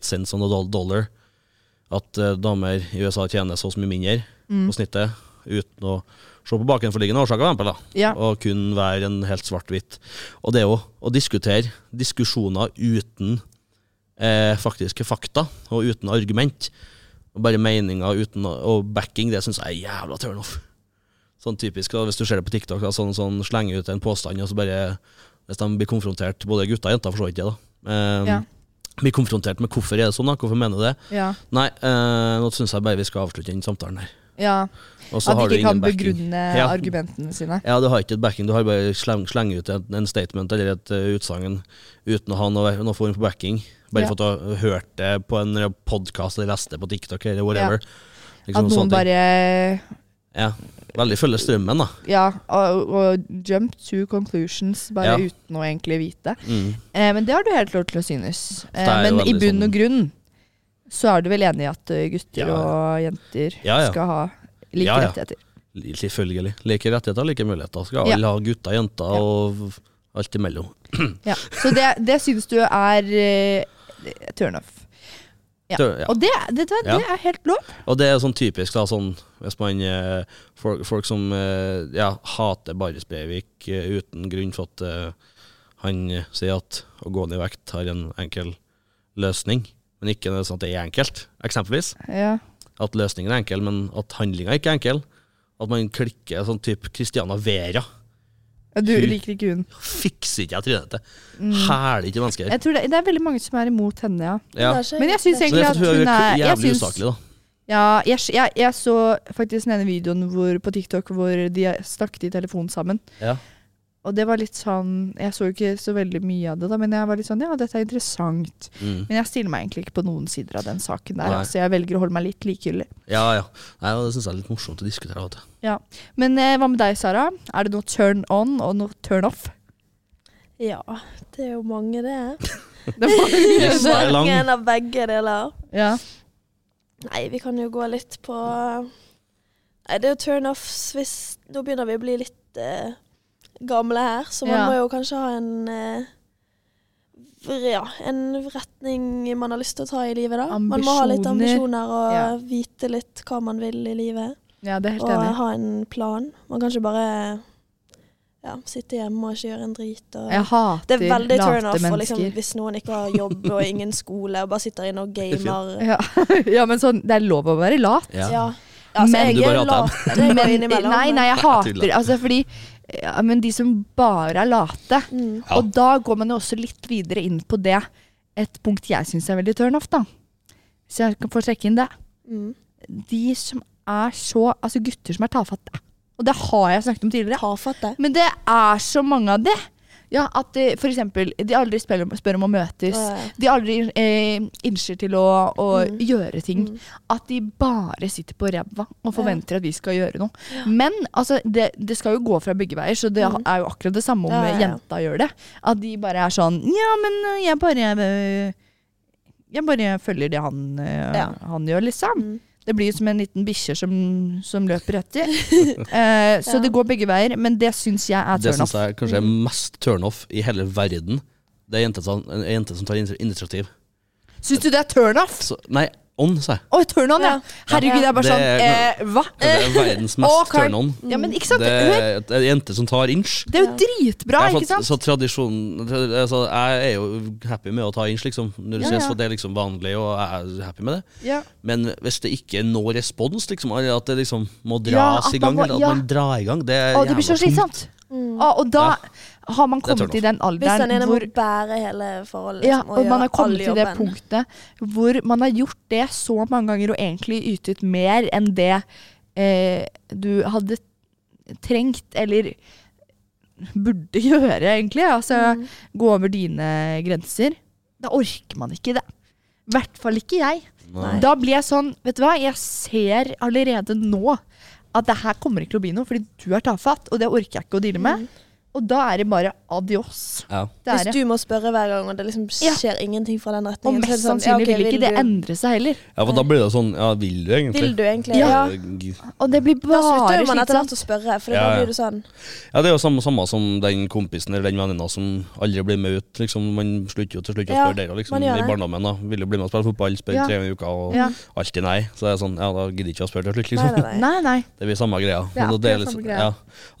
[SPEAKER 2] 88 cents on a doll- dollar. At eh, damer i USA tjener så og så mye mindre
[SPEAKER 1] Mm.
[SPEAKER 2] på snittet, uten å se på bakenforliggende årsaker, for eksempel, da
[SPEAKER 1] Ja.
[SPEAKER 2] og kun være en helt svart-hvitt. Og det er jo å diskutere diskusjoner uten eh, faktiske fakta, og uten argument. Og bare meninger uten, å- og backing, det syns jeg er jævla turnoff. Sånn typisk, og hvis du ser det på TikTok, da, sånn, sånn slenger ut en påstand, og så bare Hvis de blir konfrontert, både gutter og jenter forstår ikke det, da. Eh,
[SPEAKER 1] Ja.
[SPEAKER 2] Blir konfrontert med hvorfor er det sånn, da? Hvorfor mener du det?
[SPEAKER 1] Ja.
[SPEAKER 2] Nei, eh, nå syns jeg bare vi skal avslutte den samtalen her.
[SPEAKER 1] ja.
[SPEAKER 2] Og så
[SPEAKER 1] At
[SPEAKER 2] har
[SPEAKER 1] de
[SPEAKER 2] du
[SPEAKER 1] ikke kan
[SPEAKER 2] ingen backing.
[SPEAKER 1] begrunne
[SPEAKER 2] Ja.
[SPEAKER 1] argumentene sine.
[SPEAKER 2] Ja, du har ikke et backing, du har bare sleng, sleng ut en, en statement eller et uh, utsagn uten å ha noe, noe form for backing. Bare
[SPEAKER 1] Ja.
[SPEAKER 2] for at du har hørt det på en podkast eller lest det på TikTok eller whatever. Liksom
[SPEAKER 1] At noen
[SPEAKER 2] sånne ting.
[SPEAKER 1] bare
[SPEAKER 2] Ja. Veldig følge strømmen, da.
[SPEAKER 1] Ja, og, og jump to conclusions bare
[SPEAKER 2] Ja.
[SPEAKER 1] uten å egentlig vite.
[SPEAKER 2] Mm.
[SPEAKER 1] Eh, men det har du helt lov til å synes. Eh,
[SPEAKER 2] Det er jo
[SPEAKER 1] men i
[SPEAKER 2] veldig
[SPEAKER 1] bunn
[SPEAKER 2] sånn-
[SPEAKER 1] og grunn så er du vel enig i at eh, gutter
[SPEAKER 2] Ja, ja.
[SPEAKER 1] og jenter
[SPEAKER 2] Ja, ja.
[SPEAKER 1] skal ha like
[SPEAKER 2] Ja, ja.
[SPEAKER 1] rettigheter?
[SPEAKER 2] Selvfølgelig. Like rettigheter, like muligheter. Skal
[SPEAKER 1] Ja.
[SPEAKER 2] alle ha gutter, jenter
[SPEAKER 1] Ja.
[SPEAKER 2] og alt imellom.
[SPEAKER 1] Ja. Så det, det syns du er eh, turnoff. Ja.
[SPEAKER 2] Det, ja.
[SPEAKER 1] Og det, det, det, det
[SPEAKER 2] Ja.
[SPEAKER 1] er helt lov.
[SPEAKER 2] Og det er sånn typisk, da, sånn hvis man eh, Folk, folk som eh, ja, hater Baris Breivik eh, uten grunn for at eh, han eh, sier at å gå ned i vekt har en enkel løsning, men ikke nødvendigvis at det er enkelt, eksempelvis.
[SPEAKER 1] Ja.
[SPEAKER 2] At løsningen er enkel, men at handlinga ikke er enkel. At man klikker sånn type Christiana Vera.
[SPEAKER 1] Ja, Du
[SPEAKER 2] Fy.
[SPEAKER 1] liker ikke hun.
[SPEAKER 2] Fikser ikke jeg trynet til. Hæler ikke mennesker.
[SPEAKER 1] Jeg tror det, det er veldig mange som er imot henne, ja.
[SPEAKER 2] Ja.
[SPEAKER 3] Det er så
[SPEAKER 1] Men jeg syns
[SPEAKER 2] Så det
[SPEAKER 1] egentlig
[SPEAKER 2] er
[SPEAKER 1] at
[SPEAKER 2] for at hun
[SPEAKER 1] hun
[SPEAKER 2] er
[SPEAKER 1] er jeg
[SPEAKER 2] jævlig
[SPEAKER 1] syns-
[SPEAKER 2] usaklig, da.
[SPEAKER 1] Ja, jeg, jeg, jeg så faktisk den ene videoen hvor, på TikTok hvor de snakket i telefon sammen.
[SPEAKER 2] Ja.
[SPEAKER 1] Og det var litt sånn Jeg så jo ikke så veldig mye av det, da, men jeg var litt sånn Ja, dette er interessant.
[SPEAKER 2] Mm.
[SPEAKER 1] Men jeg stiller meg egentlig ikke på noen sider av den saken
[SPEAKER 2] Nei.
[SPEAKER 1] der. Så jeg velger å holde meg litt likegyldig.
[SPEAKER 2] ja, ja. Nei, og det syns jeg er litt morsomt å diskutere. Vet du.
[SPEAKER 1] Ja. Men eh, hva med deg, Sara? Er det noe turn on og noe turn off?
[SPEAKER 3] Ja, det er jo mange, det.
[SPEAKER 1] Det var,
[SPEAKER 2] Yes, det er lang.
[SPEAKER 3] mange av begge deler.
[SPEAKER 1] ja.
[SPEAKER 3] Nei, vi kan jo gå litt på Nei, det er jo turnoffs hvis Nå begynner vi å bli litt eh, gamle her, så man
[SPEAKER 1] Ja.
[SPEAKER 3] må jo kanskje ha en eh, vr- ja, en retning man har lyst til å ta i livet, da. Man må ha litt
[SPEAKER 1] Ambisjoner.
[SPEAKER 3] ambisjoner og
[SPEAKER 1] Ja.
[SPEAKER 3] vite litt hva man vil i livet.
[SPEAKER 1] ja, det er helt
[SPEAKER 3] Og
[SPEAKER 1] enig.
[SPEAKER 3] ha en plan. Man kan ikke bare ja, sitte hjemme og ikke gjøre en drit. Og
[SPEAKER 1] Jeg
[SPEAKER 3] det
[SPEAKER 1] hater
[SPEAKER 3] er veldig
[SPEAKER 1] late
[SPEAKER 3] turnoff og liksom,
[SPEAKER 1] mennesker.
[SPEAKER 3] hvis noen ikke har jobb og ingen skole og bare sitter inne og
[SPEAKER 2] er fint.
[SPEAKER 3] gamer.
[SPEAKER 1] Ja. ja, men sånn, det er lov å være lat.
[SPEAKER 2] Ja.
[SPEAKER 3] Ja. Altså,
[SPEAKER 1] Men-
[SPEAKER 3] jeg
[SPEAKER 2] Du
[SPEAKER 3] er
[SPEAKER 2] bare hater
[SPEAKER 3] lat. Det går
[SPEAKER 1] Men, nei,
[SPEAKER 3] innimellom.
[SPEAKER 1] nei, jeg
[SPEAKER 2] Nei, jeg
[SPEAKER 1] hater
[SPEAKER 2] tuller.
[SPEAKER 1] altså, fordi, ja, Men de som bare er late.
[SPEAKER 3] Mm.
[SPEAKER 2] Ja.
[SPEAKER 1] Og da går man jo også litt videre inn på det. Et punkt jeg syns er veldig turn off, da. Hvis jeg kan få trekke inn det.
[SPEAKER 3] Mm.
[SPEAKER 1] De som er så Altså gutter som er tafatte. Og det har jeg snakket om tidligere.
[SPEAKER 3] Tafatte.
[SPEAKER 1] Men det er så mange av det. Ja, at de, for eksempel, de aldri spør om, spør om å Mm. møtes.
[SPEAKER 3] Ja.
[SPEAKER 1] De aldri eh, innser til å, å gjøre ting. At de bare sitter på ræva og forventer at vi skal gjøre noe. Men altså, det, det skal jo gå fra begge veier, så det er jo akkurat det samme om
[SPEAKER 3] Ja, ja,
[SPEAKER 1] eh,
[SPEAKER 3] ja.
[SPEAKER 1] jenta gjør det. At de bare er sånn Ja, men eh, jeg bare eh, Jeg bare følger det han, eh,
[SPEAKER 3] Ja.
[SPEAKER 1] han gjør, liksom.
[SPEAKER 3] Mm.
[SPEAKER 1] Det blir som en liten bikkje som, som løper etter. Eh, så
[SPEAKER 3] Ja.
[SPEAKER 1] det går begge veier, men det syns jeg er
[SPEAKER 2] Det
[SPEAKER 1] turn
[SPEAKER 2] syns
[SPEAKER 1] off. Mm.
[SPEAKER 2] jeg kanskje er mest turnoff i hele verden. Det er jenter som, en jente som tar initi- initiativ.
[SPEAKER 1] Syns du det er turn off?
[SPEAKER 2] Så, nei, on, sa jeg.
[SPEAKER 1] Å, turn on, ja.
[SPEAKER 3] Ja.
[SPEAKER 1] Herregud, jeg er bare
[SPEAKER 2] Det
[SPEAKER 1] sånn
[SPEAKER 2] er-
[SPEAKER 1] eh, Hva?
[SPEAKER 2] Det er verdens mest
[SPEAKER 1] Ok.
[SPEAKER 2] turn on.
[SPEAKER 1] Ja, men ikke sant?
[SPEAKER 2] Det
[SPEAKER 1] Det,
[SPEAKER 2] er det er jenter som tar inch.
[SPEAKER 1] det er jo dritbra,
[SPEAKER 2] Ja, for at-
[SPEAKER 1] ikke sant?
[SPEAKER 2] Så tradisjonen tra- altså, Jeg er jo happy med å ta inch, liksom. Når du
[SPEAKER 1] Ja,
[SPEAKER 2] synes
[SPEAKER 1] ja.
[SPEAKER 2] at det er liksom vanlig, og jeg er happy med det.
[SPEAKER 1] Ja.
[SPEAKER 2] Men hvis det ikke er noe respons, liksom, eller at det liksom må
[SPEAKER 1] Ja,
[SPEAKER 2] dras
[SPEAKER 1] at
[SPEAKER 2] i gang,
[SPEAKER 1] man må-
[SPEAKER 2] eller at
[SPEAKER 1] ja.
[SPEAKER 2] man drar i gang, det er
[SPEAKER 1] Å, det blir så
[SPEAKER 2] jævla tungt.
[SPEAKER 1] slitsomt. Å, og da har man
[SPEAKER 2] Det er turn
[SPEAKER 1] kommet i den
[SPEAKER 3] Mm. Hvis den
[SPEAKER 1] alderen
[SPEAKER 3] ene
[SPEAKER 1] hvor
[SPEAKER 3] må bære hele forholdet
[SPEAKER 1] ja,
[SPEAKER 3] liksom,
[SPEAKER 1] og man har
[SPEAKER 3] gjøre all
[SPEAKER 1] kommet til det
[SPEAKER 3] jobben.
[SPEAKER 1] punktet hvor man har gjort det så mange ganger og egentlig ytet mer enn det eh, du hadde trengt eller burde gjøre, egentlig. Altså
[SPEAKER 3] Mm.
[SPEAKER 1] gå over dine grenser. Da orker man ikke det. I hvert fall ikke jeg.
[SPEAKER 2] Nei.
[SPEAKER 1] Da blir jeg sånn, vet du hva, jeg ser allerede nå at det her kommer ikke til å bli noe, fordi du er tafatt, og det orker jeg ikke å deale med. Og da er det bare adios.
[SPEAKER 2] Ja.
[SPEAKER 1] Det er
[SPEAKER 3] Mm. Hvis
[SPEAKER 1] det.
[SPEAKER 3] du må spørre hver gang, og det liksom
[SPEAKER 1] Ja.
[SPEAKER 3] skjer ingenting fra den
[SPEAKER 1] Og
[SPEAKER 3] retningen så er
[SPEAKER 1] mest
[SPEAKER 3] det sånn, ja,
[SPEAKER 1] sannsynlig
[SPEAKER 3] ok,
[SPEAKER 1] vil ikke det
[SPEAKER 3] du-
[SPEAKER 1] endre seg heller.
[SPEAKER 2] ja, for da blir det sånn Ja, vil du egentlig?
[SPEAKER 3] Vil du egentlig?
[SPEAKER 1] Ja.
[SPEAKER 2] Eh, g-
[SPEAKER 1] Og det sånn- blir
[SPEAKER 3] Da
[SPEAKER 1] bare
[SPEAKER 3] slutter jo man etter hvert
[SPEAKER 1] slitsomt.
[SPEAKER 3] å spørre, for
[SPEAKER 2] Ja,
[SPEAKER 3] da
[SPEAKER 2] ja.
[SPEAKER 3] blir du sånn
[SPEAKER 2] Ja, det er jo samme, samme som den kompisen eller den venninna som aldri blir med ut. Liksom, man slutter jo til slutt å
[SPEAKER 3] Ja,
[SPEAKER 2] spørre dere liksom,
[SPEAKER 3] man gjør
[SPEAKER 2] i
[SPEAKER 3] det.
[SPEAKER 2] barndommen. da. Vil du bli med og spille fotball? Spør
[SPEAKER 1] Ja.
[SPEAKER 2] tre ganger i uka, og
[SPEAKER 1] Ja.
[SPEAKER 2] alltid nei. Så det er sånn, ja, da gidder jeg ikke å spørre til slutt,
[SPEAKER 3] Nei,
[SPEAKER 2] liksom.
[SPEAKER 3] nei, nei.
[SPEAKER 1] Nei, nei.
[SPEAKER 2] Det blir samme greia.
[SPEAKER 1] Det er akkurat
[SPEAKER 2] Og
[SPEAKER 1] samme
[SPEAKER 2] litt-
[SPEAKER 1] greia.
[SPEAKER 2] Ja.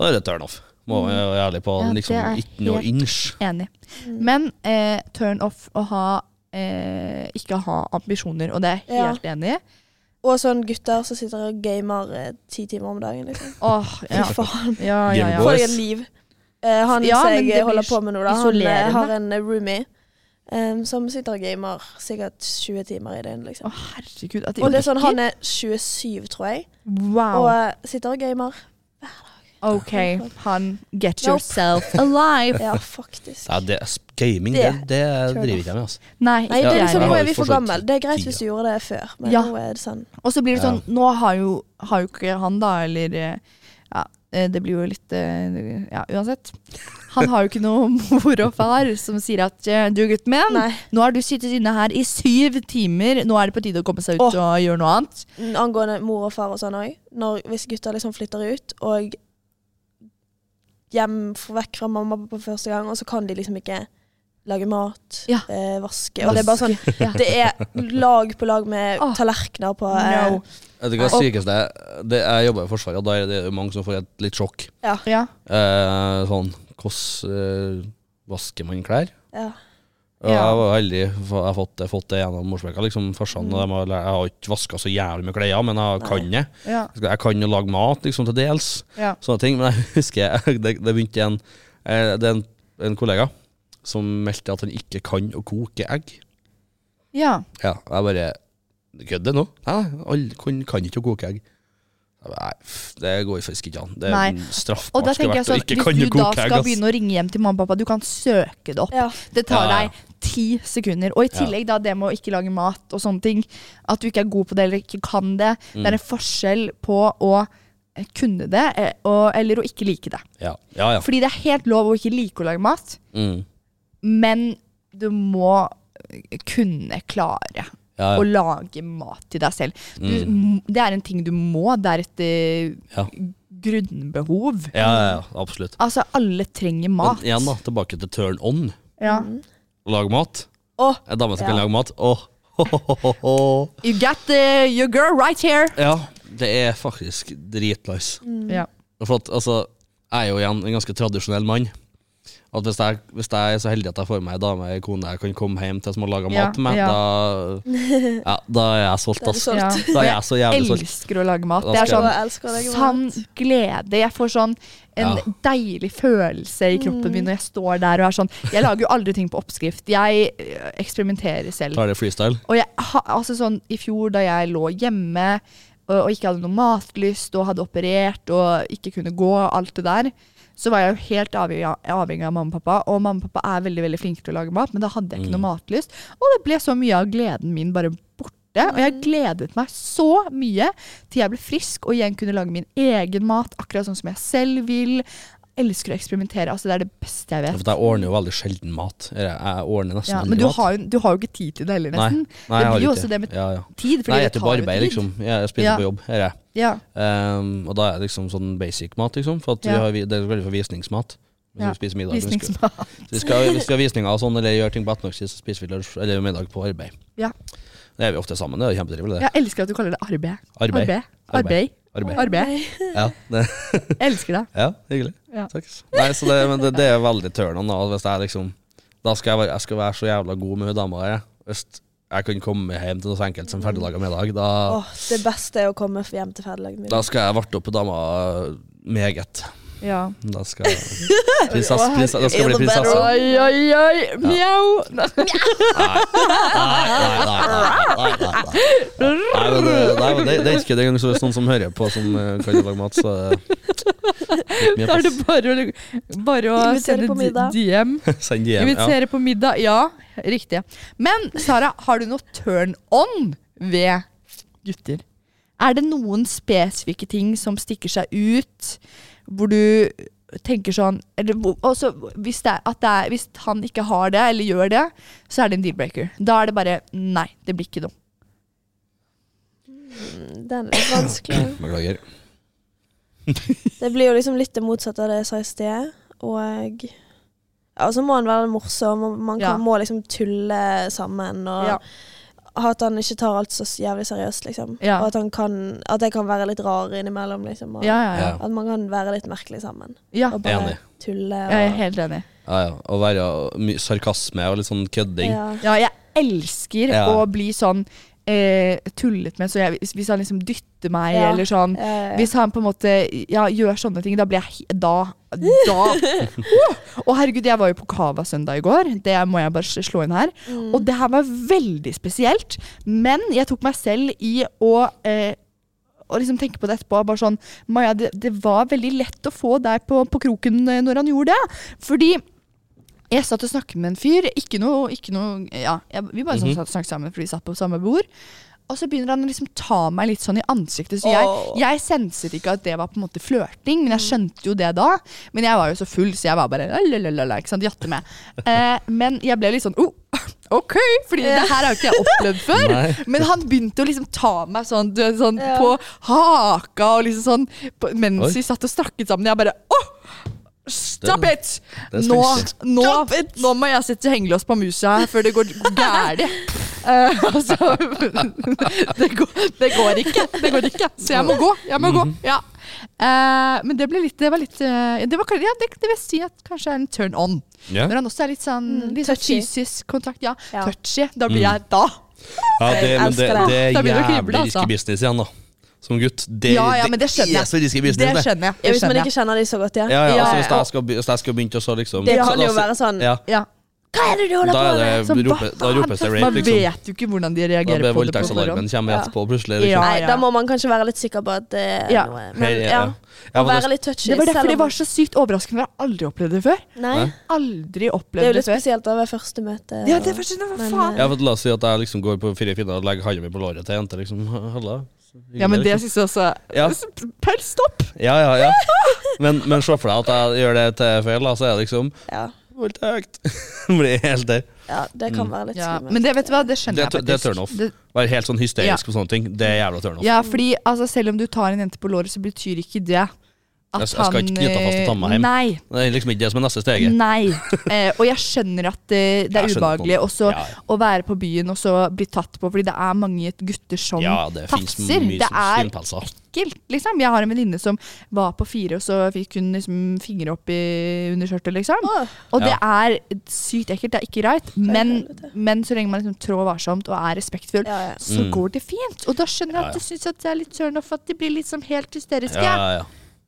[SPEAKER 2] Og da er det turn off. Må jeg være ærlig på.
[SPEAKER 1] Ja,
[SPEAKER 2] liksom,
[SPEAKER 1] det er
[SPEAKER 2] ikke noe
[SPEAKER 1] helt-
[SPEAKER 2] inch.
[SPEAKER 1] Enig.
[SPEAKER 3] Mm.
[SPEAKER 1] Men eh, turn off å ha eh, ikke ha ambisjoner, og det er jeg
[SPEAKER 3] Ja.
[SPEAKER 1] helt enig i.
[SPEAKER 3] Og sånn gutter som sitter og gamer eh, ti timer om dagen, liksom.
[SPEAKER 1] Åh,
[SPEAKER 3] Fy
[SPEAKER 1] ja.
[SPEAKER 3] faen.
[SPEAKER 1] ja, ja, ja.
[SPEAKER 2] Boys.
[SPEAKER 3] Få deg et liv. Eh, han
[SPEAKER 1] Ja,
[SPEAKER 3] som
[SPEAKER 1] men
[SPEAKER 3] jeg
[SPEAKER 1] det
[SPEAKER 3] eh, holder
[SPEAKER 1] blir
[SPEAKER 3] på med nå, da, han eh,
[SPEAKER 1] isolerende.
[SPEAKER 3] har en eh, roomie eh, som sitter og gamer sikkert 20 timer i døgnet, liksom.
[SPEAKER 1] Å, herregud, at de
[SPEAKER 3] Og det er sånn,
[SPEAKER 1] orker.
[SPEAKER 3] Han er 27, tror jeg, og
[SPEAKER 1] Wow.
[SPEAKER 3] eh, sitter og gamer.
[SPEAKER 1] Ok, han get
[SPEAKER 3] Nope.
[SPEAKER 1] yourself alive.
[SPEAKER 3] Ja, faktisk.
[SPEAKER 2] Ja, det, sp- gaming, det,
[SPEAKER 3] Det-
[SPEAKER 2] det driver
[SPEAKER 3] turn off.
[SPEAKER 2] ikke jeg med, altså.
[SPEAKER 1] Nei,
[SPEAKER 3] Nei, det
[SPEAKER 1] ikke
[SPEAKER 3] er
[SPEAKER 1] jeg
[SPEAKER 3] liksom,
[SPEAKER 1] heller.
[SPEAKER 3] nå
[SPEAKER 2] Jeg
[SPEAKER 3] er
[SPEAKER 2] har
[SPEAKER 3] vi
[SPEAKER 2] jo
[SPEAKER 3] for
[SPEAKER 2] fortsatt
[SPEAKER 3] gamle. Det er greit
[SPEAKER 2] tida.
[SPEAKER 3] hvis du gjorde det før, men
[SPEAKER 1] Ja.
[SPEAKER 3] nå er det sånn.
[SPEAKER 1] Og så blir det
[SPEAKER 2] Ja.
[SPEAKER 1] sånn, nå har jo, har jo ikke han da, eller eh, ja, eh, det blir jo litt eh, Ja, uansett. Han har jo ikke noe mor og far som sier at eh, du, gutten min,
[SPEAKER 3] Nei.
[SPEAKER 1] nå har du sittet inne her i syv timer, nå er det på tide å komme seg ut
[SPEAKER 3] Åh.
[SPEAKER 1] og gjøre noe annet.
[SPEAKER 3] Angående mor og far og sånn òg. Hvis gutter liksom flytter ut og hjem f- vekk fra mamma og pappa første gang, og så kan de liksom ikke lage mat,
[SPEAKER 1] Ja.
[SPEAKER 3] eh, vaske. Og det er bare sånn
[SPEAKER 1] Ja.
[SPEAKER 3] Det er lag på lag med
[SPEAKER 1] Åh.
[SPEAKER 3] tallerkener på eh,
[SPEAKER 1] No.
[SPEAKER 2] Vet du hva det
[SPEAKER 1] Og-
[SPEAKER 2] sykeste er? Det, jeg jobber i Forsvaret, og da er det jo mange som får et litt sjokk.
[SPEAKER 1] Ja.
[SPEAKER 2] Eh, sånn Hvordan eh, vasker man klær?
[SPEAKER 3] ja.
[SPEAKER 2] Og
[SPEAKER 1] Ja.
[SPEAKER 2] Jeg var heldig, for jeg har fått, fått det gjennom morsmelka. Liksom,
[SPEAKER 1] Mm.
[SPEAKER 2] farsan og dem har lært- jeg har ikke vaska så jævlig med klær, men jeg
[SPEAKER 3] Nei.
[SPEAKER 2] kan det.
[SPEAKER 1] Ja.
[SPEAKER 2] Jeg kan jo lage mat, liksom, til dels.
[SPEAKER 1] Ja.
[SPEAKER 2] sånne ting. Men jeg husker det, det begynte en, eh, det er en, en kollega som meldte at han ikke kan å koke egg.
[SPEAKER 1] ja.
[SPEAKER 2] Ja, og jeg bare "Du Kødder nå? Nei, nei, alle kan, kan ikke å koke egg. Jeg bare, Nei, pff, det går faktisk ikke an. Det
[SPEAKER 1] Nei.
[SPEAKER 2] er
[SPEAKER 1] Og
[SPEAKER 2] straffbart
[SPEAKER 1] da tenker jeg
[SPEAKER 2] skvett å
[SPEAKER 1] sånn,
[SPEAKER 2] ikke kan å
[SPEAKER 1] Hvis du da
[SPEAKER 2] koke egg.
[SPEAKER 1] skal
[SPEAKER 2] ass.
[SPEAKER 1] begynne å ringe hjem til mamma og pappa, du kan søke det opp.
[SPEAKER 3] ja.
[SPEAKER 1] Det tar
[SPEAKER 2] Ja, ja.
[SPEAKER 1] deg ti sekunder. Og i
[SPEAKER 2] Ja.
[SPEAKER 1] tillegg da det med å ikke lage mat og sånne ting. At du ikke er god på det eller ikke kan det.
[SPEAKER 2] Mm.
[SPEAKER 1] Det er en forskjell på å eh, kunne det eh, og, eller å ikke like det.
[SPEAKER 2] Ja, ja. ja.
[SPEAKER 1] Fordi det er helt lov å ikke like å lage mat,
[SPEAKER 2] Mm.
[SPEAKER 1] men du må eh, kunne klare
[SPEAKER 2] ja,
[SPEAKER 1] å
[SPEAKER 2] ja.
[SPEAKER 1] lage mat til deg selv. Du, m- Det er en ting du må. Det er et eh,
[SPEAKER 2] Ja.
[SPEAKER 1] grunnbehov.
[SPEAKER 2] ja, ja, ja absolutt.
[SPEAKER 1] Altså, alle trenger mat.
[SPEAKER 2] Men igjen, da, tilbake til turn on.
[SPEAKER 1] Ja.
[SPEAKER 2] Lage mat.
[SPEAKER 3] Åh,
[SPEAKER 2] En dame som
[SPEAKER 3] Ja.
[SPEAKER 2] kan lage mat. Åh, ho, ho, ho, ho.
[SPEAKER 1] You got the, your girl right here.
[SPEAKER 2] Ja, det er faktisk dritnice.
[SPEAKER 1] Ja.
[SPEAKER 2] For at, altså, jeg er jo igjen en ganske tradisjonell mann. At hvis jeg, hvis jeg er så heldig at jeg får meg ei dame, ei kone jeg kan komme hjem til som har laga
[SPEAKER 1] Ja,
[SPEAKER 2] mat til meg,
[SPEAKER 1] ja.
[SPEAKER 2] da, ja, da er jeg solgt,
[SPEAKER 3] Da er du
[SPEAKER 2] ass.
[SPEAKER 3] solgt.
[SPEAKER 1] Ja.
[SPEAKER 2] Da er jeg så jævlig solgt.
[SPEAKER 1] elsker å lage mat.
[SPEAKER 2] Da
[SPEAKER 1] Det er
[SPEAKER 2] skal
[SPEAKER 1] sånn
[SPEAKER 3] jeg elsker å lage
[SPEAKER 1] sann
[SPEAKER 3] mat.
[SPEAKER 1] glede. Jeg får sånn en
[SPEAKER 2] Ja.
[SPEAKER 1] deilig følelse i kroppen
[SPEAKER 3] Mm.
[SPEAKER 1] min når jeg står der og er sånn Jeg lager jo aldri ting på oppskrift. Jeg øh, eksperimenterer selv.
[SPEAKER 2] Tar det freestyle.
[SPEAKER 1] Og jeg, ha, altså sånn, i fjor da jeg lå hjemme og, og ikke hadde noe matlyst og hadde operert og ikke kunne gå og alt det der, så var jeg jo helt avhengig av, avhengig av mamma og pappa. Og mamma og pappa er veldig veldig flinke til å lage mat, men da hadde jeg ikke noe
[SPEAKER 2] Mm.
[SPEAKER 1] matlyst. Og det ble så mye av gleden min bare borte. Og jeg gledet meg så mye til jeg ble frisk og igjen kunne lage min egen mat, akkurat sånn som jeg selv vil. Elsker å eksperimentere. altså Det er det beste jeg vet.
[SPEAKER 2] For jeg ordner jo veldig sjelden mat. Eller Jeg ordner nesten
[SPEAKER 1] Ja,
[SPEAKER 2] aldri
[SPEAKER 1] men du
[SPEAKER 2] mat.
[SPEAKER 1] har, jo, du har jo ikke tid til det heller, nesten.
[SPEAKER 2] Nei, jeg
[SPEAKER 1] det blir jo
[SPEAKER 2] har ikke
[SPEAKER 1] også det med
[SPEAKER 2] ja, ja.
[SPEAKER 1] tid. fordi
[SPEAKER 2] Nei, jeg
[SPEAKER 1] det
[SPEAKER 2] er på
[SPEAKER 1] tar jo
[SPEAKER 2] arbeid,
[SPEAKER 1] tid.
[SPEAKER 2] liksom. Jeg spiser
[SPEAKER 1] Ja.
[SPEAKER 2] på jobb. Her er jeg.
[SPEAKER 1] Ja.
[SPEAKER 2] Ehm, og da er det liksom sånn basic mat, liksom. For at vi
[SPEAKER 1] Ja.
[SPEAKER 2] har, vi- det er veldig for visningsmat. Hvis
[SPEAKER 1] Ja.
[SPEAKER 2] vi spiser middag. men vi skal-
[SPEAKER 1] Visningsmat.
[SPEAKER 2] Så vi skal, hvis vi har visninger og sånn, eller gjør ting på ettermiddagstid, så spiser vi lunsj eller middag på arbeid.
[SPEAKER 1] Ja.
[SPEAKER 2] Det er vi ofte sammen. Det er jo kjempetrivelig, det.
[SPEAKER 1] Jeg elsker at du kaller det arbeid.
[SPEAKER 2] Arbeid.
[SPEAKER 1] Arbeid. Arbeid.
[SPEAKER 2] Arbeid.
[SPEAKER 1] arbeid.
[SPEAKER 2] Ja, det,
[SPEAKER 1] Jeg elsker det.
[SPEAKER 2] ja hyggelig.
[SPEAKER 1] Ja.
[SPEAKER 2] Takk. Nei, så det, men det, det er veldig turn on, da. Hvis jeg liksom Da skal jeg være, jeg skal være så jævla god med hun dama der. jeg. Hvis jeg kan komme hjem til noe så enkelt som ferdiglaga middag, da,
[SPEAKER 3] Åh, det beste er å komme hjem til ferdiglaget middag.
[SPEAKER 2] da skal jeg varte opp dama meget.
[SPEAKER 1] Ja.
[SPEAKER 2] Da skal prinsess, prinsess, Da skal jeg bli prinsesse.
[SPEAKER 1] Oi, oi, oi. Mjau.
[SPEAKER 2] Nei, nei, nei, nei, nei, nei, nei. Nei, men, det, nei, men det, det er ikke det engang så hvis noen som hører på som eh, kan lage mat, så eh, litt mye
[SPEAKER 1] Da er det
[SPEAKER 2] pass.
[SPEAKER 1] bare å, bare å
[SPEAKER 3] Invitere
[SPEAKER 1] sende
[SPEAKER 3] på
[SPEAKER 1] d-
[SPEAKER 3] middag.
[SPEAKER 1] DM.
[SPEAKER 2] Send de hjem. Ja.
[SPEAKER 1] Invitere på middag. Ja, riktig. Men Sara, har du noe turn on ved gutter? Er det noen spesifikke ting som stikker seg ut, hvor du tenker sånn eller, hvor- også, hvis, det er, at det er, hvis han ikke har det, eller gjør det, så er det en deal-breaker. Da er det bare nei, det blir ikke noe.
[SPEAKER 3] Den er litt vanskelig.
[SPEAKER 2] Beklager.
[SPEAKER 3] Det blir jo liksom litt det motsatte av det jeg sa i sted. Og ja, så må han være morsom, og man kan,
[SPEAKER 1] Ja.
[SPEAKER 3] må liksom tulle sammen. Og
[SPEAKER 1] Ja.
[SPEAKER 3] at han ikke tar alt så jævlig seriøst, liksom.
[SPEAKER 1] Ja.
[SPEAKER 3] Og at, han kan, at jeg kan være litt rar innimellom, liksom. Og
[SPEAKER 1] Ja, ja, ja.
[SPEAKER 3] At man kan være litt merkelig sammen.
[SPEAKER 1] ja.
[SPEAKER 3] Og bare
[SPEAKER 2] Enig.
[SPEAKER 3] tulle. Og,
[SPEAKER 1] Jeg er helt enig.
[SPEAKER 2] Ja, ja. Å være my- sarkasme og litt sånn kødding.
[SPEAKER 3] Ja.
[SPEAKER 1] Ja, jeg elsker
[SPEAKER 2] Ja.
[SPEAKER 1] å bli sånn eh, tullet med, så jeg, hvis- hvis han liksom dytter meg,
[SPEAKER 3] Ja.
[SPEAKER 1] eller sånn
[SPEAKER 3] Eh,
[SPEAKER 1] Hvis han på en måte ja, gjør sånne ting, da blir jeg he- Da! da. Å herregud, jeg var jo på Cava søndag i går. Det må jeg bare slå inn her. Og det her var veldig spesielt. Men jeg tok meg selv i å eh, å liksom tenke på det etterpå. Bare sånn Maja, det, det var veldig lett å få deg på, på kroken eh, når han gjorde det. Fordi jeg satt og snakket med en fyr. Ikke noe, ikke noe ja, jeg, Vi bare sånn satt og snakket sammen fordi vi satt på samme bord. Og så begynner han å liksom ta meg litt sånn i ansiktet. Så jeg,
[SPEAKER 3] Åh.
[SPEAKER 1] jeg senset ikke at det var på en måte flørting, men jeg
[SPEAKER 2] Mm.
[SPEAKER 1] skjønte jo det da. Men jeg var jo så full, så jeg var bare lalalala, ikke sant, jatte med. Eh, men jeg ble litt sånn oh, OK! Fordi det her har jo ikke jeg opplevd før.
[SPEAKER 2] Nei.
[SPEAKER 1] Men han begynte å liksom ta meg sånn, du, vet, sånn
[SPEAKER 3] Ja.
[SPEAKER 1] på haka og liksom sånn på, mens
[SPEAKER 2] Oi.
[SPEAKER 1] vi satt og snakket sammen. Jeg bare åh! Stop
[SPEAKER 2] Det-
[SPEAKER 1] it!
[SPEAKER 2] det er
[SPEAKER 1] Nå,
[SPEAKER 2] spicy.
[SPEAKER 1] nå,
[SPEAKER 3] Stop it!
[SPEAKER 1] nå må jeg sette hengelås på musa før det går gærent. Eh, altså, det, går, det går ikke. Det går ikke. Så jeg må gå. Jeg må gå.
[SPEAKER 2] Mhm.
[SPEAKER 1] Ja. Eh, men det ble litt Det var litt eh, det, var, kanskje- ja, det, det vil si at kanskje er en turn on.
[SPEAKER 2] Ja.
[SPEAKER 1] Når han også er litt sånn
[SPEAKER 3] Mm,
[SPEAKER 1] litt sånn
[SPEAKER 3] touchy.
[SPEAKER 1] fysisk kontakt. Ja,
[SPEAKER 3] Ja.
[SPEAKER 1] touchy. Da blir
[SPEAKER 2] Mm.
[SPEAKER 1] jeg da.
[SPEAKER 2] Ja, det, men det,
[SPEAKER 3] elsker det.
[SPEAKER 2] det er
[SPEAKER 1] Da begynner det å krible,
[SPEAKER 2] jævlig
[SPEAKER 1] altså.
[SPEAKER 2] risky business igjen, da. Som gutt. Det,
[SPEAKER 1] Ja, ja, men det skjønner jeg.
[SPEAKER 2] er så risky
[SPEAKER 1] Det
[SPEAKER 2] business, det.
[SPEAKER 1] skjønner jeg.
[SPEAKER 3] Ja,
[SPEAKER 1] Det
[SPEAKER 3] hvis man
[SPEAKER 1] skjønner
[SPEAKER 3] ikke
[SPEAKER 1] jeg.
[SPEAKER 3] kjenner de så godt, ja.
[SPEAKER 2] Ja, ja, altså, hvis,
[SPEAKER 1] ja.
[SPEAKER 2] jeg skal, be- hvis jeg skal begynne å så liksom
[SPEAKER 3] Det
[SPEAKER 2] så-
[SPEAKER 3] kan jo
[SPEAKER 2] da-
[SPEAKER 3] være sånn
[SPEAKER 2] ja,
[SPEAKER 1] Ja.
[SPEAKER 3] Hva er det du holder
[SPEAKER 2] Da
[SPEAKER 3] på
[SPEAKER 2] er
[SPEAKER 3] med?
[SPEAKER 2] det
[SPEAKER 1] Så hva
[SPEAKER 2] rope- da ropes det
[SPEAKER 1] faen?
[SPEAKER 2] rape,
[SPEAKER 1] Man
[SPEAKER 2] liksom.
[SPEAKER 1] vet jo ikke hvordan de
[SPEAKER 2] Da
[SPEAKER 1] reagerer på det.
[SPEAKER 2] blir
[SPEAKER 1] på forhånd.
[SPEAKER 2] voldtektsalarmen kommer
[SPEAKER 3] Ja.
[SPEAKER 2] etterpå, plutselig. Liksom.
[SPEAKER 1] Ja,
[SPEAKER 3] Nei,
[SPEAKER 1] ja.
[SPEAKER 3] da må man kanskje være litt sikker på at det er
[SPEAKER 1] Ja.
[SPEAKER 3] noe.
[SPEAKER 2] Her
[SPEAKER 3] Men
[SPEAKER 2] er-
[SPEAKER 3] ja,
[SPEAKER 2] Ja,
[SPEAKER 3] å
[SPEAKER 2] men
[SPEAKER 3] være litt touchy.
[SPEAKER 1] Det var
[SPEAKER 3] selv
[SPEAKER 1] derfor
[SPEAKER 3] om-
[SPEAKER 1] det var så sykt overraskende. for Jeg har aldri opplevd det før.
[SPEAKER 3] Nei,
[SPEAKER 2] Nei.
[SPEAKER 1] Aldri
[SPEAKER 3] det er jo
[SPEAKER 1] opplevd det
[SPEAKER 3] litt
[SPEAKER 1] før.
[SPEAKER 3] spesielt å være første møte.
[SPEAKER 1] Ja, det er først, hva
[SPEAKER 3] Men, eh,
[SPEAKER 1] faen?
[SPEAKER 2] Ja, for La oss si at jeg liksom går på fire finner og legger handa mi på låret til ei jente. Liksom. Halla.
[SPEAKER 1] Ja, men det syns jeg også
[SPEAKER 2] Ja.
[SPEAKER 1] Per, stopp!
[SPEAKER 2] Ja, ja, ja. Men, men se for deg at jeg gjør det til feil, da, så er det liksom
[SPEAKER 3] Ja,
[SPEAKER 2] voldtekt. Blir helt der.
[SPEAKER 3] ja det
[SPEAKER 1] Mm.
[SPEAKER 3] kan være litt
[SPEAKER 1] Ja,
[SPEAKER 3] skummelt.
[SPEAKER 1] men det vet du hva, det skjønner
[SPEAKER 2] Det er
[SPEAKER 1] jeg
[SPEAKER 2] tu-
[SPEAKER 1] faktisk.
[SPEAKER 2] det er turn off.
[SPEAKER 1] Det-
[SPEAKER 2] Være helt sånn hysterisk
[SPEAKER 1] Ja.
[SPEAKER 2] og sånne ting. Det er jævla turn off.
[SPEAKER 1] Ja, fordi altså, selv om du tar en jente på låret, så betyr ikke det at han eh,
[SPEAKER 2] Jeg- jeg skal ikke knytte fast og ta meg hjem.
[SPEAKER 1] Nei.
[SPEAKER 2] Det er liksom ikke det som er neste steget.
[SPEAKER 1] nei. Eh, og jeg skjønner at eh, det, det er
[SPEAKER 2] Jeg skjønner på
[SPEAKER 1] ubehagelig
[SPEAKER 2] det.
[SPEAKER 1] også
[SPEAKER 2] Ja, ja.
[SPEAKER 1] å være på byen og så bli tatt på, fordi det er mange gutter som
[SPEAKER 2] Ja, det finnes
[SPEAKER 1] tafser.
[SPEAKER 2] mye altså.
[SPEAKER 1] Det er
[SPEAKER 2] svinpelser.
[SPEAKER 1] ekkelt, liksom. Jeg har en venninne som var på fire, og så fikk hun liksom fingre opp i underskjørtet, liksom.
[SPEAKER 3] Åh,
[SPEAKER 1] Og det
[SPEAKER 2] Ja.
[SPEAKER 1] er sykt ekkelt, det er ikke greit, men,
[SPEAKER 3] helvete.
[SPEAKER 1] men så lenge man liksom trår varsomt og er respektfull,
[SPEAKER 3] ja, ja.
[SPEAKER 1] så
[SPEAKER 2] Mm.
[SPEAKER 1] går det fint. Og da skjønner jeg
[SPEAKER 2] Ja, ja.
[SPEAKER 1] at du syns at det er litt turn off at de blir liksom helt hysteriske.
[SPEAKER 2] Ja, ja, ja.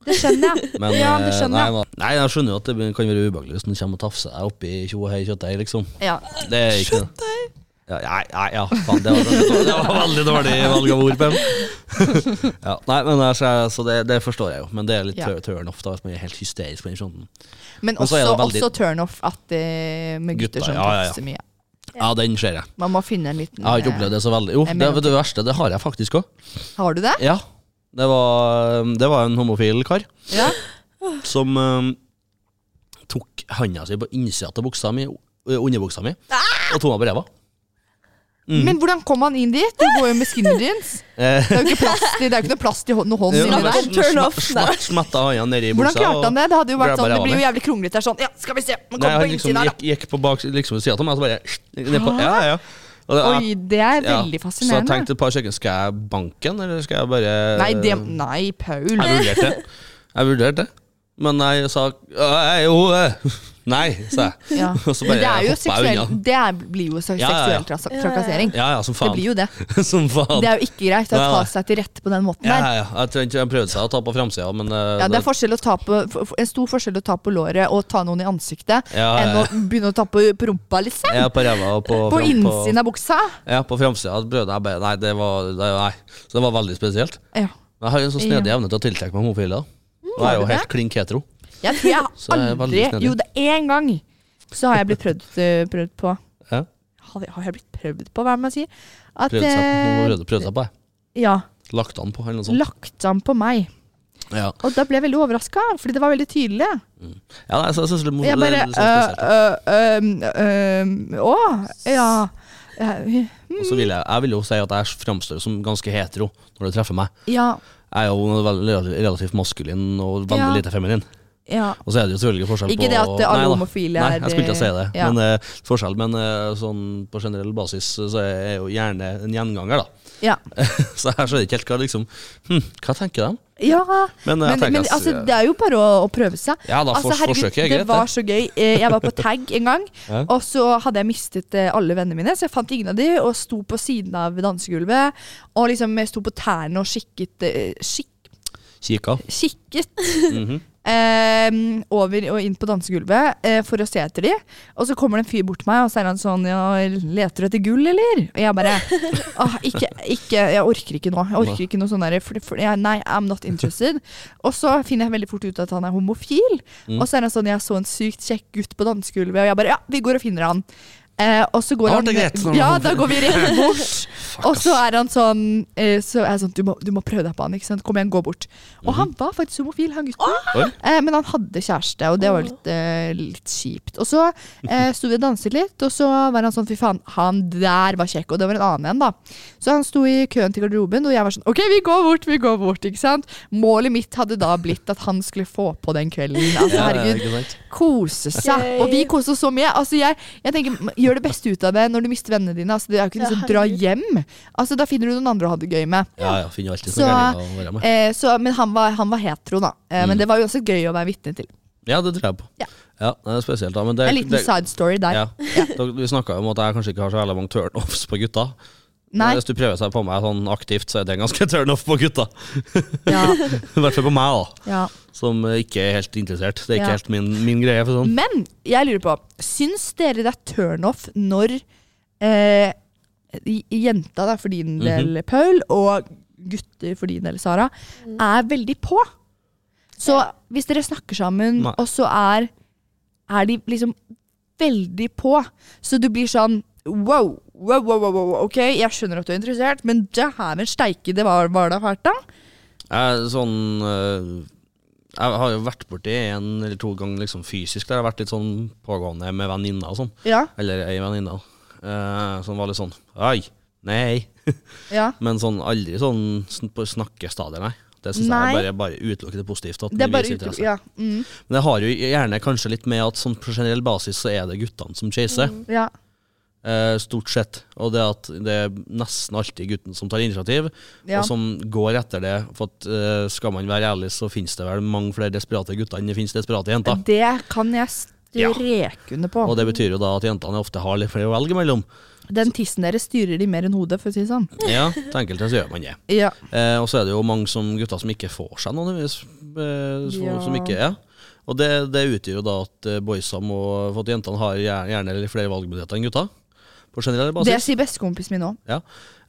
[SPEAKER 1] Det skjønner jeg.
[SPEAKER 2] Men,
[SPEAKER 1] ja, det
[SPEAKER 2] eh,
[SPEAKER 1] skjønner jeg.
[SPEAKER 2] Nei, nei, jeg skjønner jo at det kan være ubehagelig hvis den kommer og tafser deg oppi tjo og hei kjøttdeig, liksom.
[SPEAKER 1] Ja.
[SPEAKER 2] Det er ikke Kjøttdeig? Ja, nei, nei, ja, faen, det var, veldig dårlig- det var veldig dårlig valg av ord, Pem. ja, nei, men altså, så det, det forstår jeg jo, men det er litt
[SPEAKER 1] Ja.
[SPEAKER 2] ja. turn off da, hvis man er helt hysterisk på den fronten.
[SPEAKER 1] Men
[SPEAKER 2] Men så er
[SPEAKER 1] også,
[SPEAKER 2] det veldig-
[SPEAKER 1] også turn off at eh, med gutter
[SPEAKER 2] Gutter,
[SPEAKER 1] som
[SPEAKER 2] ja, ja, ja.
[SPEAKER 1] tafser mye.
[SPEAKER 2] Ja, den ser jeg.
[SPEAKER 1] Man må finne en liten eh,
[SPEAKER 2] Jeg har ikke opplevd det så veldig. Jo,
[SPEAKER 1] Jeg
[SPEAKER 2] det,
[SPEAKER 1] mener-
[SPEAKER 2] vet du, det verste, det har jeg faktisk òg.
[SPEAKER 1] eh, Har du det?
[SPEAKER 2] Ja. Det var, um, det var en homofil kar
[SPEAKER 1] Ja.
[SPEAKER 2] som eh, tok handa si på innsida av buksa mi, eh, underbuksa mi,
[SPEAKER 1] Ah!
[SPEAKER 2] og tok meg på ræva. Mm.
[SPEAKER 1] Men hvordan kom han inn dit? Det går jo med skinny jeans.
[SPEAKER 2] Eh,
[SPEAKER 1] Det er jo ikke plass til, det er jo ikke noe plass til hånd, noe hånd
[SPEAKER 2] Ja,
[SPEAKER 1] inni
[SPEAKER 2] men
[SPEAKER 1] der.
[SPEAKER 2] sm-
[SPEAKER 3] Turn
[SPEAKER 2] sm-
[SPEAKER 3] off,
[SPEAKER 2] sm- Smetta handa nedi i buksa.
[SPEAKER 1] Hvordan klarte han det? Det hadde jo vært
[SPEAKER 2] grabba
[SPEAKER 1] sånn, det
[SPEAKER 2] ræva
[SPEAKER 1] blir jo
[SPEAKER 2] mi.
[SPEAKER 1] jævlig kronglete. Det er sånn, ja, skal vi se, man
[SPEAKER 2] Nei,
[SPEAKER 1] kommer
[SPEAKER 2] han
[SPEAKER 1] på
[SPEAKER 2] liksom
[SPEAKER 1] innsiden her,
[SPEAKER 2] gikk, gikk på bak liksom ved sida av meg, og så bare ned på, Ja, ja. Og det-
[SPEAKER 1] da. Oi, det er
[SPEAKER 2] ja.
[SPEAKER 1] veldig
[SPEAKER 2] Så jeg
[SPEAKER 1] fascinerende.
[SPEAKER 2] tenkte eh, et par sekunder Skal jeg banke han, eller skal jeg bare
[SPEAKER 1] Nei, det, nei, Paul.
[SPEAKER 2] Jeg vurderte det. Jeg vurderte det. Men jeg sa «Nei, jo eh, Nei, sa jeg.
[SPEAKER 1] Ja.
[SPEAKER 2] Og så
[SPEAKER 1] Men det, er
[SPEAKER 2] bare
[SPEAKER 1] jo
[SPEAKER 2] hoppa jeg
[SPEAKER 1] seksuell,
[SPEAKER 2] unna.
[SPEAKER 1] det er- blir jo se-
[SPEAKER 2] Ja, ja, ja.
[SPEAKER 1] seksuell tras-
[SPEAKER 3] Ja, ja.
[SPEAKER 1] trakassering.
[SPEAKER 2] Ja, ja, som
[SPEAKER 1] Det
[SPEAKER 2] faen.
[SPEAKER 1] blir jo det.
[SPEAKER 2] som faen.
[SPEAKER 1] Det er jo ikke greit å
[SPEAKER 2] Nei,
[SPEAKER 1] ta
[SPEAKER 2] nei.
[SPEAKER 1] seg til rette på den måten
[SPEAKER 2] ja,
[SPEAKER 1] der.
[SPEAKER 2] ja, ja. Jeg tror ikke han prøvde seg å ta på framsida, men eh,
[SPEAKER 1] Ja, det er forskjell å ta på, f- f- en stor forskjell å ta på låret og ta noen i ansiktet,
[SPEAKER 2] Ja, ja,
[SPEAKER 1] enn
[SPEAKER 2] ja.
[SPEAKER 1] å begynne å ta på, på rumpa, liksom.
[SPEAKER 2] Ja, på ræva og på,
[SPEAKER 1] På
[SPEAKER 2] fram-
[SPEAKER 1] innsiden av buksa.
[SPEAKER 2] Ja, på framsida brødene jeg bare Nei, det var det, Nei. Så det var veldig spesielt.
[SPEAKER 1] Ja.
[SPEAKER 2] Men Jeg har jo en så snedig evne til å tiltrekke meg homofile. da. Og jeg er
[SPEAKER 1] Mm. har
[SPEAKER 2] jo
[SPEAKER 1] du
[SPEAKER 2] helt klink hetero.
[SPEAKER 1] Jeg tror jeg
[SPEAKER 2] Så jeg er veldig
[SPEAKER 1] aldri
[SPEAKER 2] snedig.
[SPEAKER 1] Jo, det er én gang så har jeg blitt prøvd, eh, prøvd på.
[SPEAKER 2] Ja.
[SPEAKER 1] Har har jeg blitt prøvd på, hva er det man sier? At,
[SPEAKER 2] Prøvde seg på,
[SPEAKER 1] eh,
[SPEAKER 2] prøvde, prøvde seg på jeg.
[SPEAKER 1] ja,
[SPEAKER 2] Lagt an på, eller noe sånt.
[SPEAKER 1] lagt an på meg.
[SPEAKER 2] Ja,
[SPEAKER 1] Og da ble jeg veldig overraska, fordi det var veldig tydelig.
[SPEAKER 2] ja nei, så jeg synes det er
[SPEAKER 1] Og
[SPEAKER 2] mor-
[SPEAKER 1] Jeg bare
[SPEAKER 2] det er sånn spesielt.
[SPEAKER 1] øh, øh, øh, øh, Å, ja. Eh,
[SPEAKER 2] Og så vil jeg, jeg vil jo si at jeg framstår som ganske hetero når du treffer meg.
[SPEAKER 1] Ja.
[SPEAKER 2] Jeg er jo veldig relativt- relativt maskulin og veldig
[SPEAKER 1] Ja.
[SPEAKER 2] lite feminin.
[SPEAKER 1] ja.
[SPEAKER 2] Og så er det jo selvfølgelig forskjell
[SPEAKER 1] Ikke
[SPEAKER 2] på
[SPEAKER 1] det at alle
[SPEAKER 2] Nei da.
[SPEAKER 1] homofile
[SPEAKER 2] Nei,
[SPEAKER 1] er-
[SPEAKER 2] jeg skulle ikke si det.
[SPEAKER 1] Ja.
[SPEAKER 2] Men eh, forskjell, men eh, sånn på generell basis øh, så er jeg jo gjerne en gjenganger, da.
[SPEAKER 1] Ja.
[SPEAKER 2] så jeg skjønner ikke helt hva liksom hm, Hva tenker de?
[SPEAKER 1] ja.
[SPEAKER 2] Men, jeg
[SPEAKER 1] Men,
[SPEAKER 2] tenker
[SPEAKER 1] men
[SPEAKER 2] at-
[SPEAKER 1] altså, det er jo bare å, å prøve seg.
[SPEAKER 2] Ja da,
[SPEAKER 1] altså,
[SPEAKER 2] for, forsøket er
[SPEAKER 1] det
[SPEAKER 2] greit.
[SPEAKER 1] var
[SPEAKER 2] det.
[SPEAKER 1] så gøy. Eh, Jeg var på tag en gang,
[SPEAKER 2] Ja.
[SPEAKER 1] og så hadde jeg mistet eh, alle vennene mine. Så jeg fant ingen av de, og sto på siden av dansegulvet. Og liksom jeg sto på tærne og kikket, eh, kik,
[SPEAKER 2] Kika.
[SPEAKER 1] kikket
[SPEAKER 2] Mhm.
[SPEAKER 1] eh, over og inn på dansegulvet eh, for å se etter de. Og så kommer det en fyr bort til meg, og så er han sånn ja, 'Leter du etter gull, eller?' Og jeg bare «Åh, ikke, ikke, Jeg orker ikke nå. Jeg orker ikke noe sånn derre for, for, jeg- Nei, I'm not interested. Og så finner jeg veldig fort ut at han er homofil.
[SPEAKER 2] Mm.
[SPEAKER 1] Og så er han sånn 'Jeg så en sykt kjekk gutt på dansegulvet', og jeg bare 'Ja, vi går og finner han'. Eh, og så går
[SPEAKER 2] Da
[SPEAKER 1] han
[SPEAKER 2] ble det greit når han
[SPEAKER 1] Ja,
[SPEAKER 2] var
[SPEAKER 1] da går vi rett bort.
[SPEAKER 2] fuck,
[SPEAKER 1] Og
[SPEAKER 2] ass.
[SPEAKER 1] så er han sånn, eh, så er jeg sånn du, må, du må prøve deg på han, ikke sant? Kom igjen, gå bort.
[SPEAKER 2] Mhm.
[SPEAKER 1] Og han var faktisk homofil, han gutten.
[SPEAKER 2] Oi.
[SPEAKER 1] Eh, men han hadde kjæreste, og det var litt, eh, litt kjipt. Og så eh, sto vi og danset litt, og så var han sånn fy faen, han der var kjekk, og det var en annen en, da. Så han sto i køen til garderoben, og jeg var sånn OK, vi går bort, vi går bort, ikke sant. Målet mitt hadde da blitt at han skulle få på den kvelden. Altså,
[SPEAKER 2] Ja,
[SPEAKER 1] herregud
[SPEAKER 2] ikke sant?
[SPEAKER 1] kose seg.
[SPEAKER 3] Gøy.
[SPEAKER 1] Og vi koste oss så mye. Altså, jeg, jeg tenker, m- Gjør det beste ut av det når du mister vennene dine. Altså, det er jo ikke
[SPEAKER 3] Ja,
[SPEAKER 1] noe sånn dra
[SPEAKER 3] herregud.
[SPEAKER 1] hjem. Altså, da finner du noen andre å ha det gøy med.
[SPEAKER 2] Ja, ja, finner alltid
[SPEAKER 1] Så-
[SPEAKER 2] noen gærninger å være med.
[SPEAKER 1] Eh, så, men han var, han var hetero, da. Eh,
[SPEAKER 2] Mm.
[SPEAKER 1] Men det var jo også gøy å være vitne til.
[SPEAKER 2] Ja, det tror jeg på.
[SPEAKER 1] Ja.
[SPEAKER 2] Ja, det er spesielt, da. Men det,
[SPEAKER 1] En liten
[SPEAKER 2] det,
[SPEAKER 1] side story der.
[SPEAKER 2] ja. Dere- Vi snakka jo om at jeg kanskje ikke har så jævla mange turnoffs på gutta. Eh,
[SPEAKER 1] Nei,
[SPEAKER 2] Hvis du prøver seg på meg sånn aktivt, så er det en ganske turnoff på gutta.
[SPEAKER 1] ja,
[SPEAKER 2] I hvert fall på meg, da.
[SPEAKER 1] ja.
[SPEAKER 2] Som eh, ikke er helt interessert. Det er ikke
[SPEAKER 1] Ja.
[SPEAKER 2] helt min, min greie. for sånn.
[SPEAKER 1] Men jeg lurer på, syns dere det er turnoff når eh, i- jenta, da, for din del
[SPEAKER 2] Mhm.
[SPEAKER 1] Paul, og gutter, for din del Sara, er veldig på? Så
[SPEAKER 3] Ja.
[SPEAKER 1] hvis dere snakker sammen,
[SPEAKER 2] Nei.
[SPEAKER 1] og så er, er de liksom veldig på, så du blir sånn Wow, wow, wow, wow, wow, ok, jeg skjønner at du er interessert, men det her med steike, det var, var da fælt, da?
[SPEAKER 2] Jeg, er sånn eh, jeg har jo vært borti en eller to ganger liksom fysisk der jeg har vært litt sånn pågående med venninner og sånn.
[SPEAKER 1] Ja,
[SPEAKER 2] Eller ei venninne. eh, som var litt sånn Oi, nei.
[SPEAKER 1] ja.
[SPEAKER 2] Men sånn aldri sånn sn- på snakkestadier, nei. Det syns jeg
[SPEAKER 1] Nei.
[SPEAKER 2] er bare, bare utelukkende positivt. At
[SPEAKER 1] Det er
[SPEAKER 2] den
[SPEAKER 1] bare
[SPEAKER 2] viser
[SPEAKER 1] utro...
[SPEAKER 2] interesse.
[SPEAKER 1] Ja. Mm,
[SPEAKER 2] Men det har jo gjerne kanskje litt med at sånn på generell basis så er det guttene som chaser.
[SPEAKER 1] ja.
[SPEAKER 2] eh, stort sett. Og det at det er nesten alltid gutten som tar initiativ,
[SPEAKER 1] Ja.
[SPEAKER 2] og sånn, som går etter det. For at, eh, skal man være ærlig, så finnes det vel mange flere desperate gutter enn det finnes desperate jenter.
[SPEAKER 1] Det kan jeg
[SPEAKER 2] Ja.
[SPEAKER 1] streke under på.
[SPEAKER 2] Og det betyr jo da at jentene ofte har litt flere å velge mellom.
[SPEAKER 1] Den tissen deres styrer de mer enn hodet, for å si det sånn.
[SPEAKER 2] Ja, til enkelte så gjør man det.
[SPEAKER 1] Ja.
[SPEAKER 2] Eh, og så er det jo mange som gutter som ikke får seg noen, eh, som,
[SPEAKER 1] Ja.
[SPEAKER 2] som ikke er. Og det, det utgjør jo da at eh, boysa må For at jentene har gjerne, gjerne litt flere valgmuligheter enn gutta. På generell basis.
[SPEAKER 1] Det sier bestekompisen min òg.
[SPEAKER 2] Ja.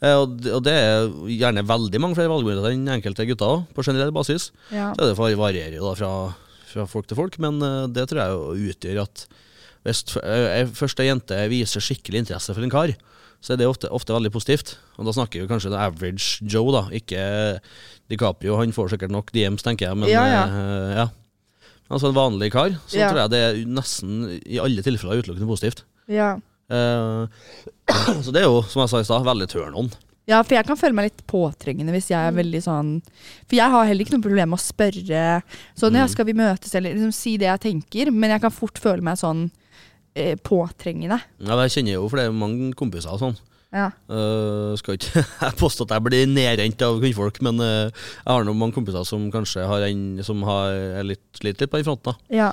[SPEAKER 2] Eh, Og det, og det er gjerne veldig mange flere valgmuligheter enn enkelte gutter òg, på generell basis.
[SPEAKER 1] Ja.
[SPEAKER 2] Så det var- varierer jo da fra, fra folk til folk, men eh, det tror jeg jo utgjør at hvis f- eh, først ei jente viser skikkelig interesse for en kar, så er det ofte, ofte veldig positivt. Og da snakker vi kanskje the average Joe, da. Ikke DiCaprio, han får sikkert nok DMs, tenker jeg, men
[SPEAKER 1] Ja, ja.
[SPEAKER 2] eh, ja. Altså en vanlig kar, så
[SPEAKER 1] Ja.
[SPEAKER 2] tror jeg det er nesten i alle tilfeller utelukkende positivt.
[SPEAKER 1] Ja.
[SPEAKER 2] Eh, så det er jo, som jeg sa i stad, veldig turn on.
[SPEAKER 1] ja, for jeg kan føle meg litt påtrengende hvis jeg er veldig sånn For jeg har heller ikke noe problem med å spørre sånn,
[SPEAKER 2] Mm.
[SPEAKER 1] ja, skal vi møtes, eller liksom si det jeg tenker, men jeg kan fort føle meg sånn eh, påtrengende.
[SPEAKER 2] Ja, jeg kjenner jo flere mange kompiser og sånn.
[SPEAKER 1] Ja.
[SPEAKER 2] Eh, skal ikke jeg påstå at jeg blir nedrent av kvinnfolk, men eh, jeg har nå mange kompiser som kanskje har en som har, er litt, sliter litt på den fronten. da.
[SPEAKER 1] ja.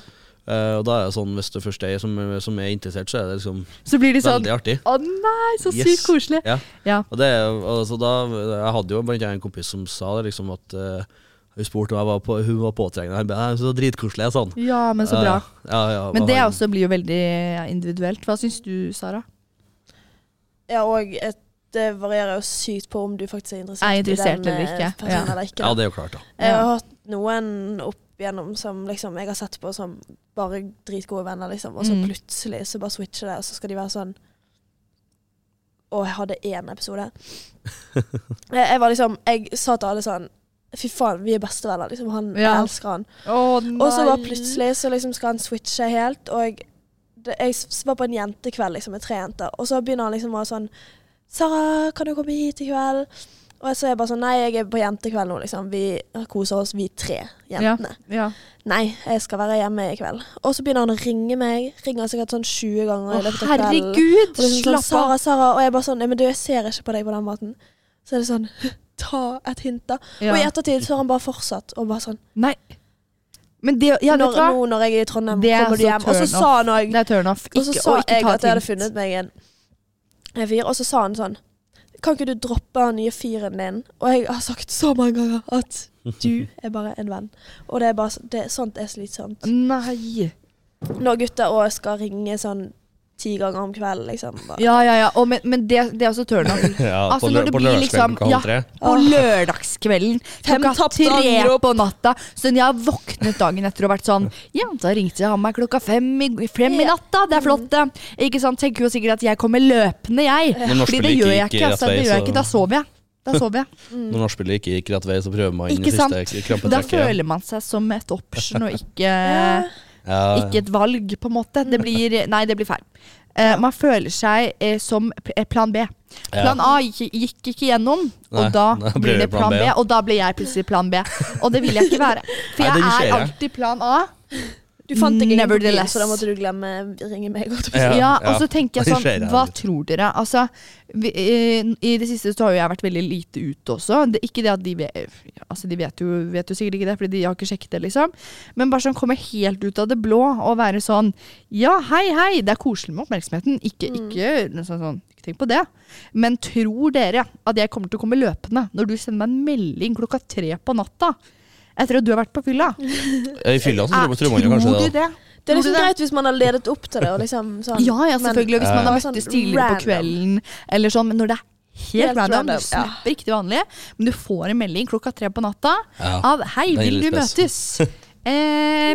[SPEAKER 2] Eh, og da er det sånn, Hvis det først er ei som, som er interessert, så er det liksom
[SPEAKER 1] Så blir de sånn
[SPEAKER 2] veldig artig.
[SPEAKER 1] Å nei, så
[SPEAKER 2] Yes.
[SPEAKER 1] sykt koselig.
[SPEAKER 2] Ja.
[SPEAKER 1] Ja.
[SPEAKER 2] Og det, er jo- altså, da, jeg hadde jo blant annet en kompis som sa det, liksom at eh, hun spurte om jeg var på, hun var påtrengende. Jeg bare, «Nei, så dritkoselig, jeg sa han.
[SPEAKER 1] Ja, men så bra.
[SPEAKER 2] Eh, ja, ja,
[SPEAKER 1] Men
[SPEAKER 2] og
[SPEAKER 1] det
[SPEAKER 2] han-
[SPEAKER 1] også blir jo veldig individuelt. Hva syns du, Sara?
[SPEAKER 3] Ja, og et, det varierer jo sykt på om du faktisk er interessert,
[SPEAKER 1] Er interessert
[SPEAKER 3] i den eh,
[SPEAKER 1] eller ikke,
[SPEAKER 3] personen
[SPEAKER 1] ja.
[SPEAKER 3] eller ikke.
[SPEAKER 2] Ja,
[SPEAKER 3] da.
[SPEAKER 2] det er jo klart, da.
[SPEAKER 3] Jeg har hatt noen opp igjennom som liksom, jeg har sett på som bare dritgode venner, liksom. Og så
[SPEAKER 1] Mm.
[SPEAKER 3] plutselig så bare switcher det, og så skal de være sånn Og jeg hadde én episode. jeg, jeg var liksom Jeg sa til alle sånn Fy faen, vi er bestevenner. Liksom, han,
[SPEAKER 1] Ja.
[SPEAKER 3] Jeg elsker han.
[SPEAKER 1] Å, nei.
[SPEAKER 3] Og så bare plutselig så liksom skal han switche helt, og det, jeg s- var på en jentekveld liksom, med tre jenter, og så begynner han liksom å være sånn 'Sara, kan du komme hit i kveld?' Og så er jeg bare sånn 'Nei, jeg er på jentekveld nå, liksom. Vi koser oss, vi tre jentene.'
[SPEAKER 1] Ja.
[SPEAKER 3] Nei, jeg skal være hjemme i kveld. Og så begynner han å ringe meg. Ringer sikkert sånn 20 ganger
[SPEAKER 1] Å,
[SPEAKER 3] i løpet av kvelden.
[SPEAKER 1] herregud,
[SPEAKER 3] Og liksom sånn,
[SPEAKER 1] slapp av.
[SPEAKER 3] Sara, Sara. Og jeg bare sånn, «Nei, men du, jeg ser ikke på deg på den måten. Så er det sånn, ta et hint da.
[SPEAKER 1] Ja.
[SPEAKER 3] Og i ettertid så har han bare fortsatt, og bare sånn,
[SPEAKER 1] Nei. Men det, ja, vet
[SPEAKER 3] når,
[SPEAKER 1] du hva?
[SPEAKER 3] nå når jeg er i Trondheim,
[SPEAKER 1] Det er
[SPEAKER 3] kommer du
[SPEAKER 1] så
[SPEAKER 3] hjem. Og så
[SPEAKER 1] turn
[SPEAKER 3] sa han òg
[SPEAKER 1] Det er turn off.
[SPEAKER 3] Og så
[SPEAKER 1] Ikke,
[SPEAKER 3] sa
[SPEAKER 1] og ikke
[SPEAKER 3] jeg
[SPEAKER 1] ta
[SPEAKER 3] at jeg hadde
[SPEAKER 1] hint.
[SPEAKER 3] funnet meg en en fyr, og så sa han sånn Kan ikke du droppe den nye fyren din? Og jeg har sagt så mange ganger at du er bare en venn. Og det er bare så- det, sånt er slitsomt.
[SPEAKER 1] Nei.
[SPEAKER 3] Når gutter òg skal ringe sånn ti ganger om kvelden, liksom. Bare.
[SPEAKER 1] Ja, ja, ja. Og, men, men det, det er også turn off.
[SPEAKER 2] Ja,
[SPEAKER 1] Altså,
[SPEAKER 2] på,
[SPEAKER 1] når
[SPEAKER 2] lø
[SPEAKER 1] det
[SPEAKER 2] på
[SPEAKER 1] blir
[SPEAKER 2] lørdagskvelden
[SPEAKER 1] liksom-
[SPEAKER 2] klokka
[SPEAKER 1] ja.
[SPEAKER 2] halv tre.
[SPEAKER 1] På lørdagskvelden
[SPEAKER 3] Ah. Fem
[SPEAKER 1] klokka
[SPEAKER 3] tapte
[SPEAKER 1] tre
[SPEAKER 3] anrop.
[SPEAKER 1] på natta. Så jeg har våknet dagen etter og vært sånn Jenta ringte jeg meg klokka fem i, fem i natta, det er flott, det. Ikke sant? Tenker jo sikkert at jeg kommer løpende, jeg.
[SPEAKER 2] Når
[SPEAKER 1] Fordi det
[SPEAKER 2] nachspielet
[SPEAKER 1] gjør
[SPEAKER 2] ikke
[SPEAKER 1] jeg
[SPEAKER 2] gikk
[SPEAKER 1] ikke.
[SPEAKER 2] rett
[SPEAKER 1] Altså,
[SPEAKER 2] vei,
[SPEAKER 1] det gjør jeg ikke. Da
[SPEAKER 2] så-
[SPEAKER 1] sover jeg. Da sover jeg.
[SPEAKER 2] Når nachspielet ikke gikk rett vei, så prøver man inn i
[SPEAKER 1] Mm. Ikke sant?
[SPEAKER 2] siste
[SPEAKER 1] Da
[SPEAKER 2] krampetrekket.
[SPEAKER 1] føler man seg som et option og ikke,
[SPEAKER 3] Ja.
[SPEAKER 2] Ja, ja.
[SPEAKER 1] ikke et valg, på en måte. Det blir Nei, det blir feil. Eh, man føler seg eh, som p- eh, plan B.
[SPEAKER 2] Ja.
[SPEAKER 1] Plan A gikk, gikk ikke gjennom, og
[SPEAKER 2] Nei,
[SPEAKER 1] da
[SPEAKER 2] da blir
[SPEAKER 1] blir det
[SPEAKER 2] det
[SPEAKER 1] plan B. Og da blir jeg plutselig plan B. Og det vil jeg ikke være. For
[SPEAKER 2] Nei,
[SPEAKER 1] jeg
[SPEAKER 2] det skjer,
[SPEAKER 1] er
[SPEAKER 2] ja.
[SPEAKER 1] alltid plan A.
[SPEAKER 3] Du fant deg ingen på byen,
[SPEAKER 1] Nevertheless.
[SPEAKER 3] så da måtte du glemme ringe meg. holdt jeg på å si.
[SPEAKER 1] Ja,
[SPEAKER 2] Ja,
[SPEAKER 1] og
[SPEAKER 2] ja.
[SPEAKER 1] så tenker jeg
[SPEAKER 2] Det
[SPEAKER 1] sånn,
[SPEAKER 2] skjer, ja.
[SPEAKER 1] hva tror dere? Altså, vi, eh, I det siste så har jo jeg vært veldig lite ute også. Det, ikke det at de vet, altså de vet jo, vet jo sikkert ikke det, fordi de har ikke sjekket det, liksom. Men bare sånn komme helt ut av det blå og være sånn, ja, hei, hei, det er koselig med oppmerksomheten. Ikke,
[SPEAKER 3] Mm.
[SPEAKER 1] ikke, noe sånn, sånn, ikke tenk på det. Men tror dere at jeg kommer til å komme løpende når du sender meg en melding klokka tre på natta? Etter at du har vært på fylla? Eh,
[SPEAKER 2] Ja, I fylla så tror, tror man jo kanskje
[SPEAKER 1] Ah, Tror
[SPEAKER 2] det.
[SPEAKER 1] du det?
[SPEAKER 3] Det er
[SPEAKER 1] Tror
[SPEAKER 3] liksom
[SPEAKER 1] du det?
[SPEAKER 3] greit hvis man har ledet opp til det. Og liksom, sånn.
[SPEAKER 1] Ja, ja, selvfølgelig. Og hvis man
[SPEAKER 3] Ja.
[SPEAKER 1] har
[SPEAKER 3] Sånn
[SPEAKER 1] møttes tidligere på
[SPEAKER 3] random.
[SPEAKER 1] kvelden, eller sånn, men når det er helt,
[SPEAKER 3] Helt
[SPEAKER 1] random,
[SPEAKER 3] random,
[SPEAKER 1] du
[SPEAKER 3] ja.
[SPEAKER 1] snapper ikke det vanlige, men du får en melding klokka tre på natta
[SPEAKER 2] Ja.
[SPEAKER 1] av 'Hei,
[SPEAKER 2] Den er
[SPEAKER 1] vil du
[SPEAKER 2] litt
[SPEAKER 1] møtes?' eh,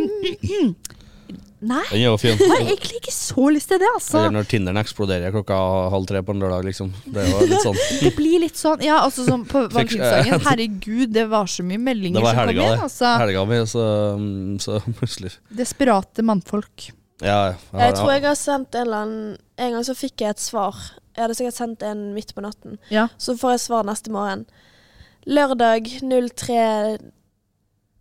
[SPEAKER 1] nei,
[SPEAKER 2] Den er jo fin.
[SPEAKER 1] jeg har egentlig ikke så lyst til det, altså.
[SPEAKER 2] Eller når Tinderen eksploderer klokka halv tre på en lørdag, liksom. Det er jo litt sånn.
[SPEAKER 1] Det blir litt sånn Ja, altså sånn på
[SPEAKER 2] Fikk-
[SPEAKER 1] valentinsdagen. Herregud, det var så mye
[SPEAKER 2] Det
[SPEAKER 1] meldinger
[SPEAKER 2] var
[SPEAKER 1] som kom
[SPEAKER 2] helga,
[SPEAKER 1] inn.
[SPEAKER 2] det.
[SPEAKER 1] Altså.
[SPEAKER 2] Helga mi, så, mm, så plutselig
[SPEAKER 1] Desperate mannfolk.
[SPEAKER 2] Ja, ja. har-
[SPEAKER 3] Jeg tror jeg har sendt en eller annen En gang så fikk jeg et svar. Jeg hadde sikkert sendt en midt på natten.
[SPEAKER 1] Ja.
[SPEAKER 3] Så får jeg svar neste morgen. Lørdag 03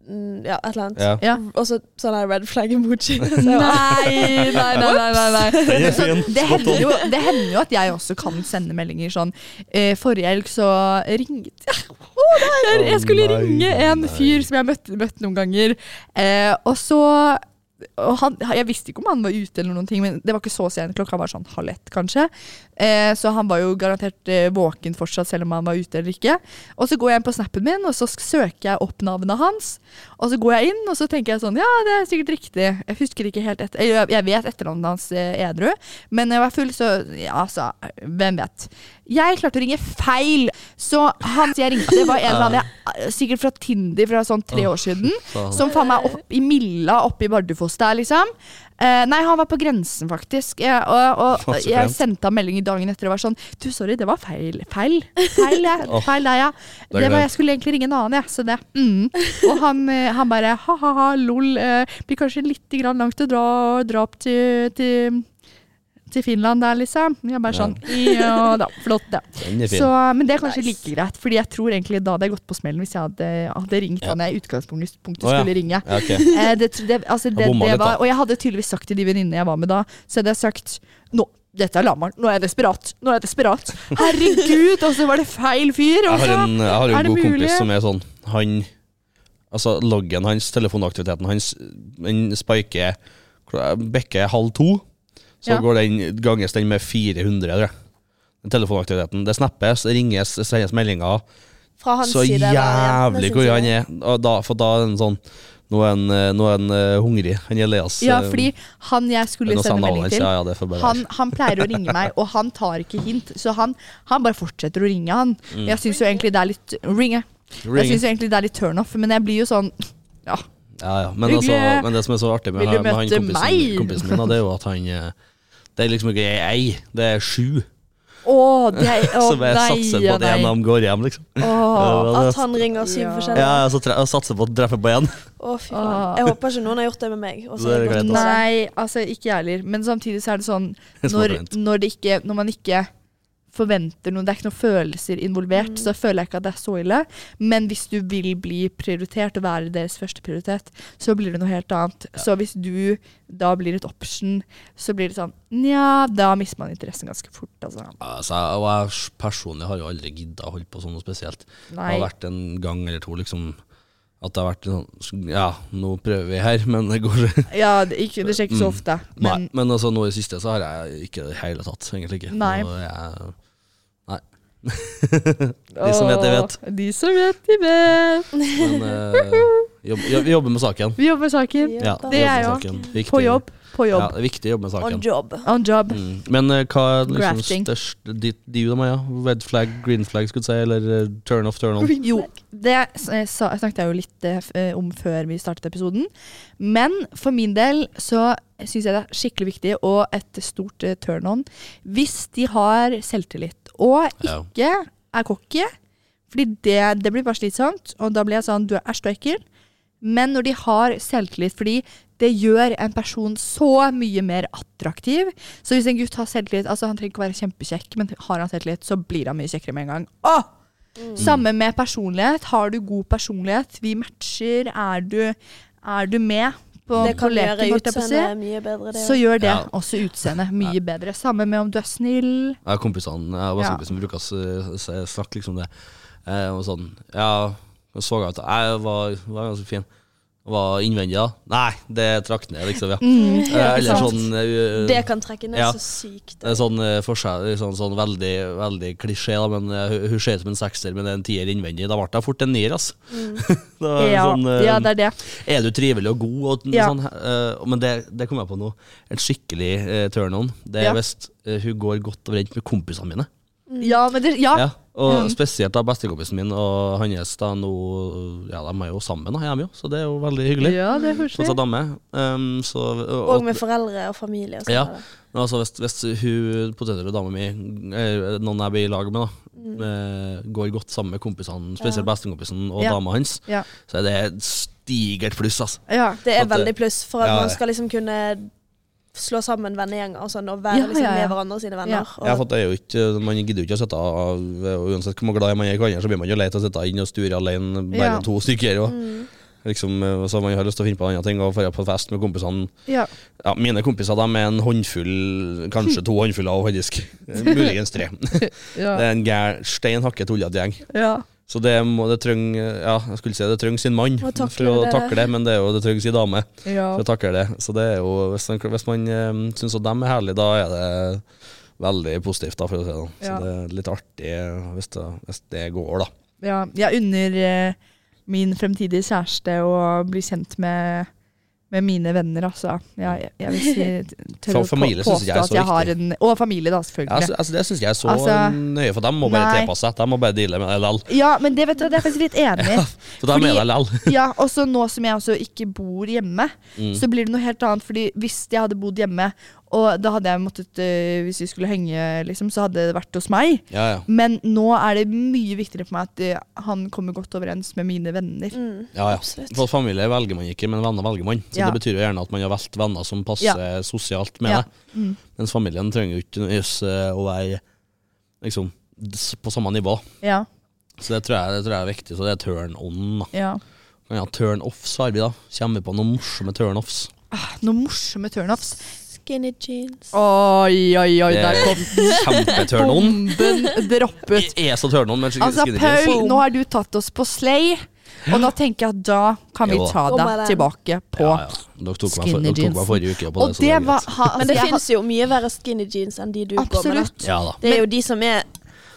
[SPEAKER 3] mm, Ja, et eller annet.
[SPEAKER 2] ja.
[SPEAKER 1] ja.
[SPEAKER 3] Og så sånn her red flag emoji. Så jeg bare-
[SPEAKER 1] Nei, nei, nei, nei, nei, nei.
[SPEAKER 2] Den er
[SPEAKER 1] Men sånn,
[SPEAKER 2] fin.
[SPEAKER 1] det, hender jo, det hender jo at jeg også kan sende meldinger sånn. Eh, forrige helg så ringte jeg Å, nei, jeg- Jeg skulle
[SPEAKER 2] Å, nei,
[SPEAKER 1] ringe en
[SPEAKER 2] nei.
[SPEAKER 1] fyr som jeg møtte, møtte noen ganger, eh, og så og han, jeg visste ikke om han var ute, eller noen ting men det var ikke så sent. Klokka var sånn halv ett, kanskje. Eh, så han var jo garantert eh, våken fortsatt, selv om han var ute eller ikke. Og så går jeg inn på snappen min, og så sk- søker jeg opp navnet hans. Og så går jeg inn, og så tenker jeg sånn Ja, det er sikkert riktig. Jeg husker ikke helt etter eller, Jeg vet etternavnet hans eh, edru, men når jeg var full, så Ja, altså, hvem vet. Jeg klarte å ringe feil, så han jeg ringte, var en eller annen jeg, eh, sikkert fra Tinder fra sånn tre år siden.
[SPEAKER 2] faen.
[SPEAKER 1] Som faen meg opp i Milla, oppe i Bardufoss der, liksom. Eh, nei, han var på grensen, faktisk. Eh, og og
[SPEAKER 2] Faen, så
[SPEAKER 1] jeg
[SPEAKER 2] fint.
[SPEAKER 1] sendte ham melding i dagen etter og var sånn Du, sorry, det var feil. Feil. Feil, jeg.
[SPEAKER 2] Åh,
[SPEAKER 1] feil der, ja.
[SPEAKER 2] er
[SPEAKER 1] Det var,
[SPEAKER 2] greit.
[SPEAKER 1] jeg skulle egentlig ringe en annen, jeg. Så det. Mm. Og han, eh, han bare ha-ha-ha, lol. eh, blir kanskje litt grann langt å dra, dra opp til, til til Finland der, liksom. Jeg bare sånn Ja da, flott, det.
[SPEAKER 2] Den er fin.
[SPEAKER 1] Så, eh, men det er kanskje
[SPEAKER 3] Nice.
[SPEAKER 1] like greit, Fordi jeg tror egentlig da hadde jeg gått på smellen hvis jeg hadde, hadde ringt han jeg i utgangspunktet punktet
[SPEAKER 2] Å, ja.
[SPEAKER 1] skulle ringe.
[SPEAKER 2] Ja, ok.
[SPEAKER 1] Eh, det, tro- det, altså, det,
[SPEAKER 2] bomma
[SPEAKER 1] det
[SPEAKER 2] litt,
[SPEAKER 1] var,
[SPEAKER 2] da.
[SPEAKER 1] og jeg hadde tydeligvis sagt til de venninnene jeg var med da, så hadde jeg sagt Nå, dette er Lamarn. Nå er jeg desperat. Nå er jeg desperat. Herregud, og så var det feil fyr. altså?" Og
[SPEAKER 2] Jeg har
[SPEAKER 1] så
[SPEAKER 2] en, eh, jeg har
[SPEAKER 1] Er
[SPEAKER 2] en
[SPEAKER 1] det
[SPEAKER 2] god
[SPEAKER 1] mulig?
[SPEAKER 2] kompis som er sånn Han Altså loggen hans, telefonaktiviteten hans, den spiker kl- Bikker halv to. Så
[SPEAKER 1] Ja.
[SPEAKER 2] går den, ganges den med 400, tror jeg. Den Telefonaktiviteten. Det snappes, ringes, sendes meldinger.
[SPEAKER 3] Fra hans
[SPEAKER 2] Så
[SPEAKER 3] side. eller jentenes
[SPEAKER 2] jævlig hvor
[SPEAKER 3] side.
[SPEAKER 2] han er. Og da, for da er han sånn Nå er han, eh, nå er han eh, hungrig. Han Elias.
[SPEAKER 1] Ja,
[SPEAKER 2] eh,
[SPEAKER 1] fordi han jeg
[SPEAKER 2] men
[SPEAKER 1] skulle
[SPEAKER 2] nå sa han
[SPEAKER 1] sende
[SPEAKER 2] navnet
[SPEAKER 1] melding
[SPEAKER 2] hans.
[SPEAKER 1] til,
[SPEAKER 2] Ja, ja, det får bare være.
[SPEAKER 1] han, han pleier å ringe meg, og han tar ikke hint. Så han, han bare fortsetter å ringe, han.
[SPEAKER 2] Mm.
[SPEAKER 1] Jeg syns jo egentlig det er litt Ringe. Jeg
[SPEAKER 2] Ring.
[SPEAKER 1] syns egentlig det er litt turnoff, men jeg blir jo sånn Ja.
[SPEAKER 2] Ja, ja. Men,
[SPEAKER 1] Hyggelig.
[SPEAKER 2] altså, men det som er så artig med,
[SPEAKER 1] Vil du
[SPEAKER 2] med han
[SPEAKER 1] møte
[SPEAKER 2] kompisen,
[SPEAKER 1] meg?
[SPEAKER 2] kompisen min, da, det er jo at han eh, Det er liksom ikke ei, det er sju.
[SPEAKER 1] Å, det er Å,
[SPEAKER 2] som jeg
[SPEAKER 1] nei,
[SPEAKER 2] satser på
[SPEAKER 1] ja,
[SPEAKER 2] at en av
[SPEAKER 1] nei.
[SPEAKER 2] dem går hjem, liksom.
[SPEAKER 1] Å,
[SPEAKER 3] At han ringer syv
[SPEAKER 1] Ja.
[SPEAKER 3] forskjellige.
[SPEAKER 2] Ja, ja, så tre, jeg satser på å treffe på én.
[SPEAKER 3] Å, fy faen. Jeg håper ikke noen har gjort det med meg. og så
[SPEAKER 2] Det er
[SPEAKER 3] har jeg gått
[SPEAKER 2] greit,
[SPEAKER 3] på det.
[SPEAKER 1] nei, altså ikke jeg heller. Men samtidig så er det sånn når,
[SPEAKER 2] Småtrent.
[SPEAKER 1] når, det ikke, når man ikke forventer noe, det er ikke noen følelser involvert, så føler jeg ikke at det er så ille. Men hvis du vil bli prioritert og være deres første prioritet, så blir det noe helt annet. Så hvis du da blir et option, så blir det sånn Nja, da mister man interessen ganske fort, altså.
[SPEAKER 2] Altså, jeg- og jeg s- personlig har jo aldri gidda å holde på sånn noe spesielt.
[SPEAKER 1] Nei.
[SPEAKER 2] Det har vært en gang eller to, liksom. At det har vært sånn Ja, nå prøver vi her, men det går
[SPEAKER 1] Ja, det, ikke, det skjer ikke så ofte.
[SPEAKER 2] Mm. Nei,
[SPEAKER 1] Men
[SPEAKER 2] men altså, nå i det siste så har jeg ikke det i hele tatt, egentlig ikke.
[SPEAKER 1] Nei.
[SPEAKER 2] Nå er jeg, nei. de som vet, de vet.
[SPEAKER 1] Åh, De som vet, de vet.
[SPEAKER 2] Men eh, Jobb, jobb, jobbe med saken.
[SPEAKER 1] Vi jobber med saken.
[SPEAKER 2] Ja,
[SPEAKER 3] Jobber.
[SPEAKER 1] Det er
[SPEAKER 2] jobbe med
[SPEAKER 1] jo
[SPEAKER 2] saken. Viktig.
[SPEAKER 1] På jobb. På
[SPEAKER 2] Ja,
[SPEAKER 1] jobb.
[SPEAKER 2] det er viktig å jobbe med
[SPEAKER 3] On
[SPEAKER 2] saken.
[SPEAKER 3] job.
[SPEAKER 1] On job.
[SPEAKER 2] Mm. Men eh, hva er liksom
[SPEAKER 1] Grafting.
[SPEAKER 2] størst de, de da, Maja? Red flag, green flag, skulle du si? Eller eh, turn off, turn on?
[SPEAKER 1] Jo, det s- eh, sa, snakket jeg jo litt eh, f- eh, om før vi startet episoden. Men for min del så syns jeg det er skikkelig viktig og et stort eh, turn on hvis de har selvtillit og
[SPEAKER 2] Ja.
[SPEAKER 1] ikke er cocky. Fordi det, det blir bare slitsomt, og da blir jeg sånn du er æsj du er ekkel. Men når de har selvtillit, fordi det gjør en person så mye mer attraktiv. Så hvis en gutt har selvtillit, altså han trenger ikke å være kjempekjekk, men har han selvtillit, så blir han mye kjekkere med en gang. Åh!
[SPEAKER 3] Mm.
[SPEAKER 1] Samme med personlighet. Har du god personlighet? Vi matcher. Er du, er du med på,
[SPEAKER 3] Det
[SPEAKER 1] på
[SPEAKER 3] kan
[SPEAKER 1] leken?
[SPEAKER 3] gjøre
[SPEAKER 1] holdt jeg på å si?
[SPEAKER 3] utseendet mye bedre. Det
[SPEAKER 1] Så gjør det
[SPEAKER 2] Ja.
[SPEAKER 1] også utseendet mye bedre. Samme med om du er snill.
[SPEAKER 2] Jeg har kompisene, jeg har bare
[SPEAKER 1] Ja.
[SPEAKER 2] kompiser som bruker å s- s- snakke liksom det. Eh, og sånn, ja, jeg så at eh, jeg var, var ganske fin. Var innvendig da? Nei, det trakk ned liksom, ja.
[SPEAKER 1] Mm.
[SPEAKER 3] Mm.
[SPEAKER 2] eh, eller
[SPEAKER 1] sant.
[SPEAKER 2] sånn, eh,
[SPEAKER 3] Det kan trekke ned
[SPEAKER 2] Ja.
[SPEAKER 3] så sykt.
[SPEAKER 2] det er sånn eh, forskjell, sånn, sånn veldig, veldig klisjé da, men eh, hun- hun ser ut som en sekser, men det er en tier innvendig. Da ble jeg fort en nier, altså. da, er det
[SPEAKER 1] Mm. Ja,
[SPEAKER 2] sånn, eh,
[SPEAKER 1] ja, det er det.
[SPEAKER 2] er du trivelig og god? Og,
[SPEAKER 1] Ja.
[SPEAKER 2] sånn, eh, men det, det kom jeg på nå. En skikkelig eh, turn-on. Det
[SPEAKER 1] Ja.
[SPEAKER 2] er hvis eh, hun går godt overens med kompisene mine.
[SPEAKER 3] Mm.
[SPEAKER 1] Ja, men det, ja.
[SPEAKER 2] Ja, og
[SPEAKER 1] Mm.
[SPEAKER 2] spesielt da bestekompisen min og hans. da nå, ja, De er jo sammen, da, hjemme, jo, så det er jo veldig hyggelig.
[SPEAKER 1] ja, det er
[SPEAKER 2] Sånn som
[SPEAKER 1] koselig.
[SPEAKER 2] dame. Um, så, og,
[SPEAKER 3] Og med foreldre og familie. Og sånn. sånt
[SPEAKER 2] Ja.
[SPEAKER 3] der.
[SPEAKER 2] men altså, hvis, hvis hun potensielle dama mi, eh, noen jeg blir i lag med, da,
[SPEAKER 1] Mm.
[SPEAKER 2] eh, går godt sammen med kompisene, spesielt bestekompisen og
[SPEAKER 1] Ja.
[SPEAKER 2] dama hans,
[SPEAKER 1] Ja.
[SPEAKER 2] så er det et stigert pluss. altså.
[SPEAKER 1] Ja.
[SPEAKER 3] Det er
[SPEAKER 2] At det-
[SPEAKER 3] veldig pluss for at
[SPEAKER 2] Ja, ja.
[SPEAKER 3] man skal liksom kunne slå sammen vennegjenger og sånn, og være
[SPEAKER 1] Ja,
[SPEAKER 3] liksom
[SPEAKER 1] ja, ja.
[SPEAKER 3] med hverandre sine
[SPEAKER 1] Ja.
[SPEAKER 3] venner.
[SPEAKER 2] Ja, for det er jo ikke, Man gidder jo ikke å sitte av, og Uansett hvor glad man er i hverandre, så blir man jo lei av å sitte inne og sture alene, bare
[SPEAKER 1] Ja.
[SPEAKER 2] to stykker. Og,
[SPEAKER 3] Mm.
[SPEAKER 2] liksom, så man har lyst til å finne på andre ting og dra på fest med kompisene.
[SPEAKER 1] Ja.
[SPEAKER 2] Ja, Mine kompiser de er en håndfull, kanskje to håndfuller av faktisk. Muligens tre.
[SPEAKER 1] Hmm. Ja.
[SPEAKER 2] Det er en gær, stein hakke tullete gjeng.
[SPEAKER 1] Ja.
[SPEAKER 2] Så det, må, det trenger ja, jeg skulle si det trenger sin mann
[SPEAKER 3] Å takle
[SPEAKER 2] for å
[SPEAKER 3] det.
[SPEAKER 2] takle det, men det er jo det trenger sin dame
[SPEAKER 1] Ja.
[SPEAKER 2] for å takle det. Så det er jo, hvis man, hvis man eh, syns at dem er herlige, da er det veldig positivt, da, for å si det sånn. Så
[SPEAKER 1] Ja.
[SPEAKER 2] det er litt artig hvis det, hvis det går, da.
[SPEAKER 1] ja. Jeg unner eh, min fremtidige kjæreste å bli kjent med, med mine venner, altså. Ja, jeg, jeg vil si tør
[SPEAKER 2] For
[SPEAKER 1] å
[SPEAKER 2] familie synes jeg er
[SPEAKER 1] påstå at
[SPEAKER 2] så
[SPEAKER 1] jeg har
[SPEAKER 2] viktig.
[SPEAKER 1] en- Og familie, da,
[SPEAKER 2] Ja,
[SPEAKER 1] selvfølgelig.
[SPEAKER 2] altså, altså, det syns jeg er så
[SPEAKER 1] Altså,
[SPEAKER 2] nøye, for dem må bare
[SPEAKER 1] nei.
[SPEAKER 2] tilpasse seg. De må bare deale med det likevel.
[SPEAKER 1] Ja, men det vet du, det er jeg faktisk litt enig i.
[SPEAKER 2] Så de er
[SPEAKER 1] Fordi-
[SPEAKER 2] med det likevel.
[SPEAKER 1] Ja, også nå som jeg også ikke bor hjemme,
[SPEAKER 2] Mm.
[SPEAKER 1] så blir det noe helt annet. Fordi hvis jeg hadde bodd hjemme, og da hadde jeg måttet øh, Hvis vi skulle henge, liksom, så hadde det vært hos meg.
[SPEAKER 2] Ja, ja.
[SPEAKER 1] Men nå er det mye viktigere for meg at øh, han kommer godt overens med mine
[SPEAKER 3] Mm.
[SPEAKER 1] venner.
[SPEAKER 2] Ja, ja.
[SPEAKER 3] Absolutt.
[SPEAKER 2] For familie velger man ikke, men venner velger man. Så
[SPEAKER 1] Ja.
[SPEAKER 2] det betyr jo gjerne at man har valgt venner som passer sosialt med
[SPEAKER 1] Ja. Mm.
[SPEAKER 2] deg. Mens familien trenger jo ikke noe jøss, eh, å være liksom s- på samme nivå.
[SPEAKER 1] Ja,
[SPEAKER 2] Så det tror jeg, det tror jeg er viktig. Så det er turn on. da.
[SPEAKER 1] ja.
[SPEAKER 2] Men ja, turn offs har vi, da. Kommer vi på noen morsomme turn offs?
[SPEAKER 1] Ah, Noen morsomme turnoffs.
[SPEAKER 3] Skinny jeans.
[SPEAKER 1] Oi, oi, oi, der kom
[SPEAKER 2] Kjempeturn on.
[SPEAKER 1] bomben droppet.
[SPEAKER 2] Jeg er så turn on, men sk-
[SPEAKER 1] Altså,
[SPEAKER 2] skinny jeans.
[SPEAKER 1] Paul, nå har du tatt oss på slay, og da tenker jeg at da kan vi
[SPEAKER 2] Jo da.
[SPEAKER 1] ta
[SPEAKER 3] Kom med
[SPEAKER 1] deg
[SPEAKER 3] den.
[SPEAKER 1] tilbake på
[SPEAKER 2] Ja, ja. Dere tok meg, for,
[SPEAKER 1] skinny
[SPEAKER 2] dere tok meg
[SPEAKER 1] jeansen.
[SPEAKER 2] forrige uke på
[SPEAKER 1] Og
[SPEAKER 2] det, så
[SPEAKER 1] det
[SPEAKER 2] er greit.
[SPEAKER 1] var ha, altså,
[SPEAKER 3] Men det
[SPEAKER 1] jeg har-
[SPEAKER 3] finnes jo mye verre skinny jeans enn de du går med.
[SPEAKER 1] Absolutt.
[SPEAKER 3] da.
[SPEAKER 2] Ja da.
[SPEAKER 3] Det er jo de som er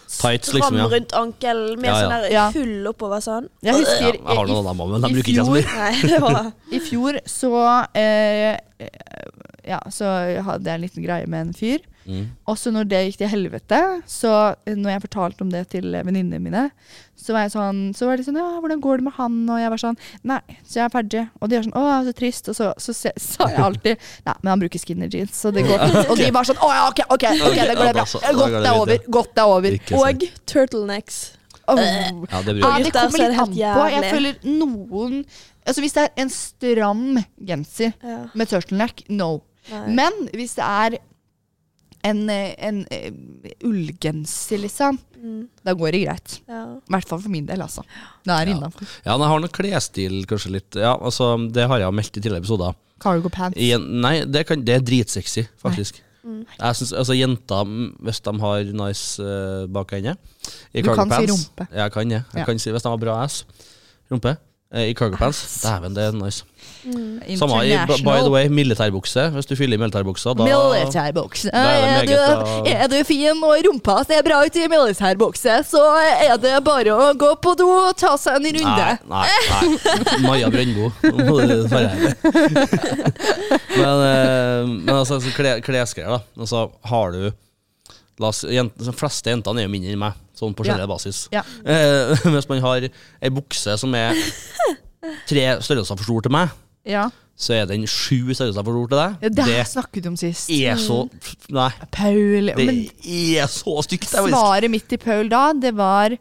[SPEAKER 2] Tights, liksom,
[SPEAKER 3] stram
[SPEAKER 2] ja.
[SPEAKER 3] rundt ankelen med
[SPEAKER 2] Ja, ja.
[SPEAKER 3] sånn der
[SPEAKER 1] Ja.
[SPEAKER 3] hull oppover sånn.
[SPEAKER 1] Jeg
[SPEAKER 2] Ja,
[SPEAKER 1] husker
[SPEAKER 2] jeg har noen av dem òg, men de
[SPEAKER 1] i
[SPEAKER 2] bruker ikke jeg så
[SPEAKER 1] fjor-
[SPEAKER 2] mye.
[SPEAKER 3] Nei, det var
[SPEAKER 1] I fjor så eh, eh, Ja, så hadde jeg en liten greie med en fyr.
[SPEAKER 2] Mm.
[SPEAKER 1] Og så når det gikk til helvete, så eh, når jeg fortalte om det til eh, venninnene mine, så var jeg sånn, så var de sånn Ja, hvordan går det med han? Og jeg var sånn Nei, så jeg er ferdig. Og de var sånn Å, så trist. Og så, så se- sa jeg alltid Nei, men han bruker skinny jeans, så det går fint. Og de var sånn Å ja, OK, OK, ok, det går
[SPEAKER 2] Ja,
[SPEAKER 1] bra.
[SPEAKER 2] da så- da går
[SPEAKER 1] Godt det
[SPEAKER 2] det
[SPEAKER 1] er
[SPEAKER 2] videre.
[SPEAKER 1] over. Godt det er over.
[SPEAKER 2] Ikke sant.
[SPEAKER 3] Og turtlenecks.
[SPEAKER 1] Åh.
[SPEAKER 2] Ja, det
[SPEAKER 1] Ja,
[SPEAKER 2] bruker jeg.
[SPEAKER 1] det
[SPEAKER 3] Gutter, så
[SPEAKER 1] kommer
[SPEAKER 3] er
[SPEAKER 1] litt
[SPEAKER 3] det
[SPEAKER 1] an
[SPEAKER 3] helt
[SPEAKER 1] på. Jeg
[SPEAKER 3] jævlig.
[SPEAKER 1] føler noen Altså Hvis det er en stram genser
[SPEAKER 3] Ja.
[SPEAKER 1] med turtleneck, no.
[SPEAKER 3] Nei.
[SPEAKER 1] Men hvis det er en, eh, en eh, ullgenser, liksom,
[SPEAKER 3] Mm.
[SPEAKER 1] da går det greit.
[SPEAKER 3] Ja.
[SPEAKER 1] I hvert fall for min del, altså. Det er
[SPEAKER 2] Ja.
[SPEAKER 1] innafor.
[SPEAKER 2] Ja, men jeg har noen klesstil, kanskje litt Ja, altså, det har jeg meldt i tidligere episoder.
[SPEAKER 1] Cargo pants.
[SPEAKER 2] I en- Nei, det, kan, det er dritsexy, faktisk.
[SPEAKER 1] Mm.
[SPEAKER 2] Jeg synes, altså Jenter, mm, hvis de har nice uh, bakende i
[SPEAKER 1] Du
[SPEAKER 2] cargo
[SPEAKER 1] kan si
[SPEAKER 2] pants-
[SPEAKER 1] rumpe.
[SPEAKER 2] Ja, Jeg kan, ja. jeg
[SPEAKER 1] Ja.
[SPEAKER 2] kan si Hvis de har bra ass, rumpe, eh, i cargo-pants. Dæven, det er nice.
[SPEAKER 3] Mm.
[SPEAKER 2] Samme i, by the way, militærbukse. Hvis du fyller i militærbuksa, da
[SPEAKER 1] Militærbukse.
[SPEAKER 2] Da er
[SPEAKER 1] Eh,
[SPEAKER 2] det meget
[SPEAKER 1] Er,
[SPEAKER 2] bra.
[SPEAKER 1] er du fin og rumpa ser bra ut i militærbukse, så er det bare å gå på do og ta seg en runde.
[SPEAKER 2] Nei, nei, nei. Maja Brøndbo. Nå må du være ærlig. men, eh, men altså, så kle, klesgreier, da. Og så har du La oss, jent, de fleste jentene er jo mindre enn meg, sånn på generell basis.
[SPEAKER 1] Ja.
[SPEAKER 2] Eh, hvis man har ei bukse som er tre størrelser for stor til meg,
[SPEAKER 1] Ja.
[SPEAKER 2] så er den sju størrelser for stor til deg.
[SPEAKER 1] Ja, det her snakket du om sist.
[SPEAKER 2] Det er så Nei,
[SPEAKER 1] Paul.
[SPEAKER 2] det
[SPEAKER 1] Men
[SPEAKER 2] er så stygt. det er faktisk-
[SPEAKER 1] svaret mitt til Paul da, det var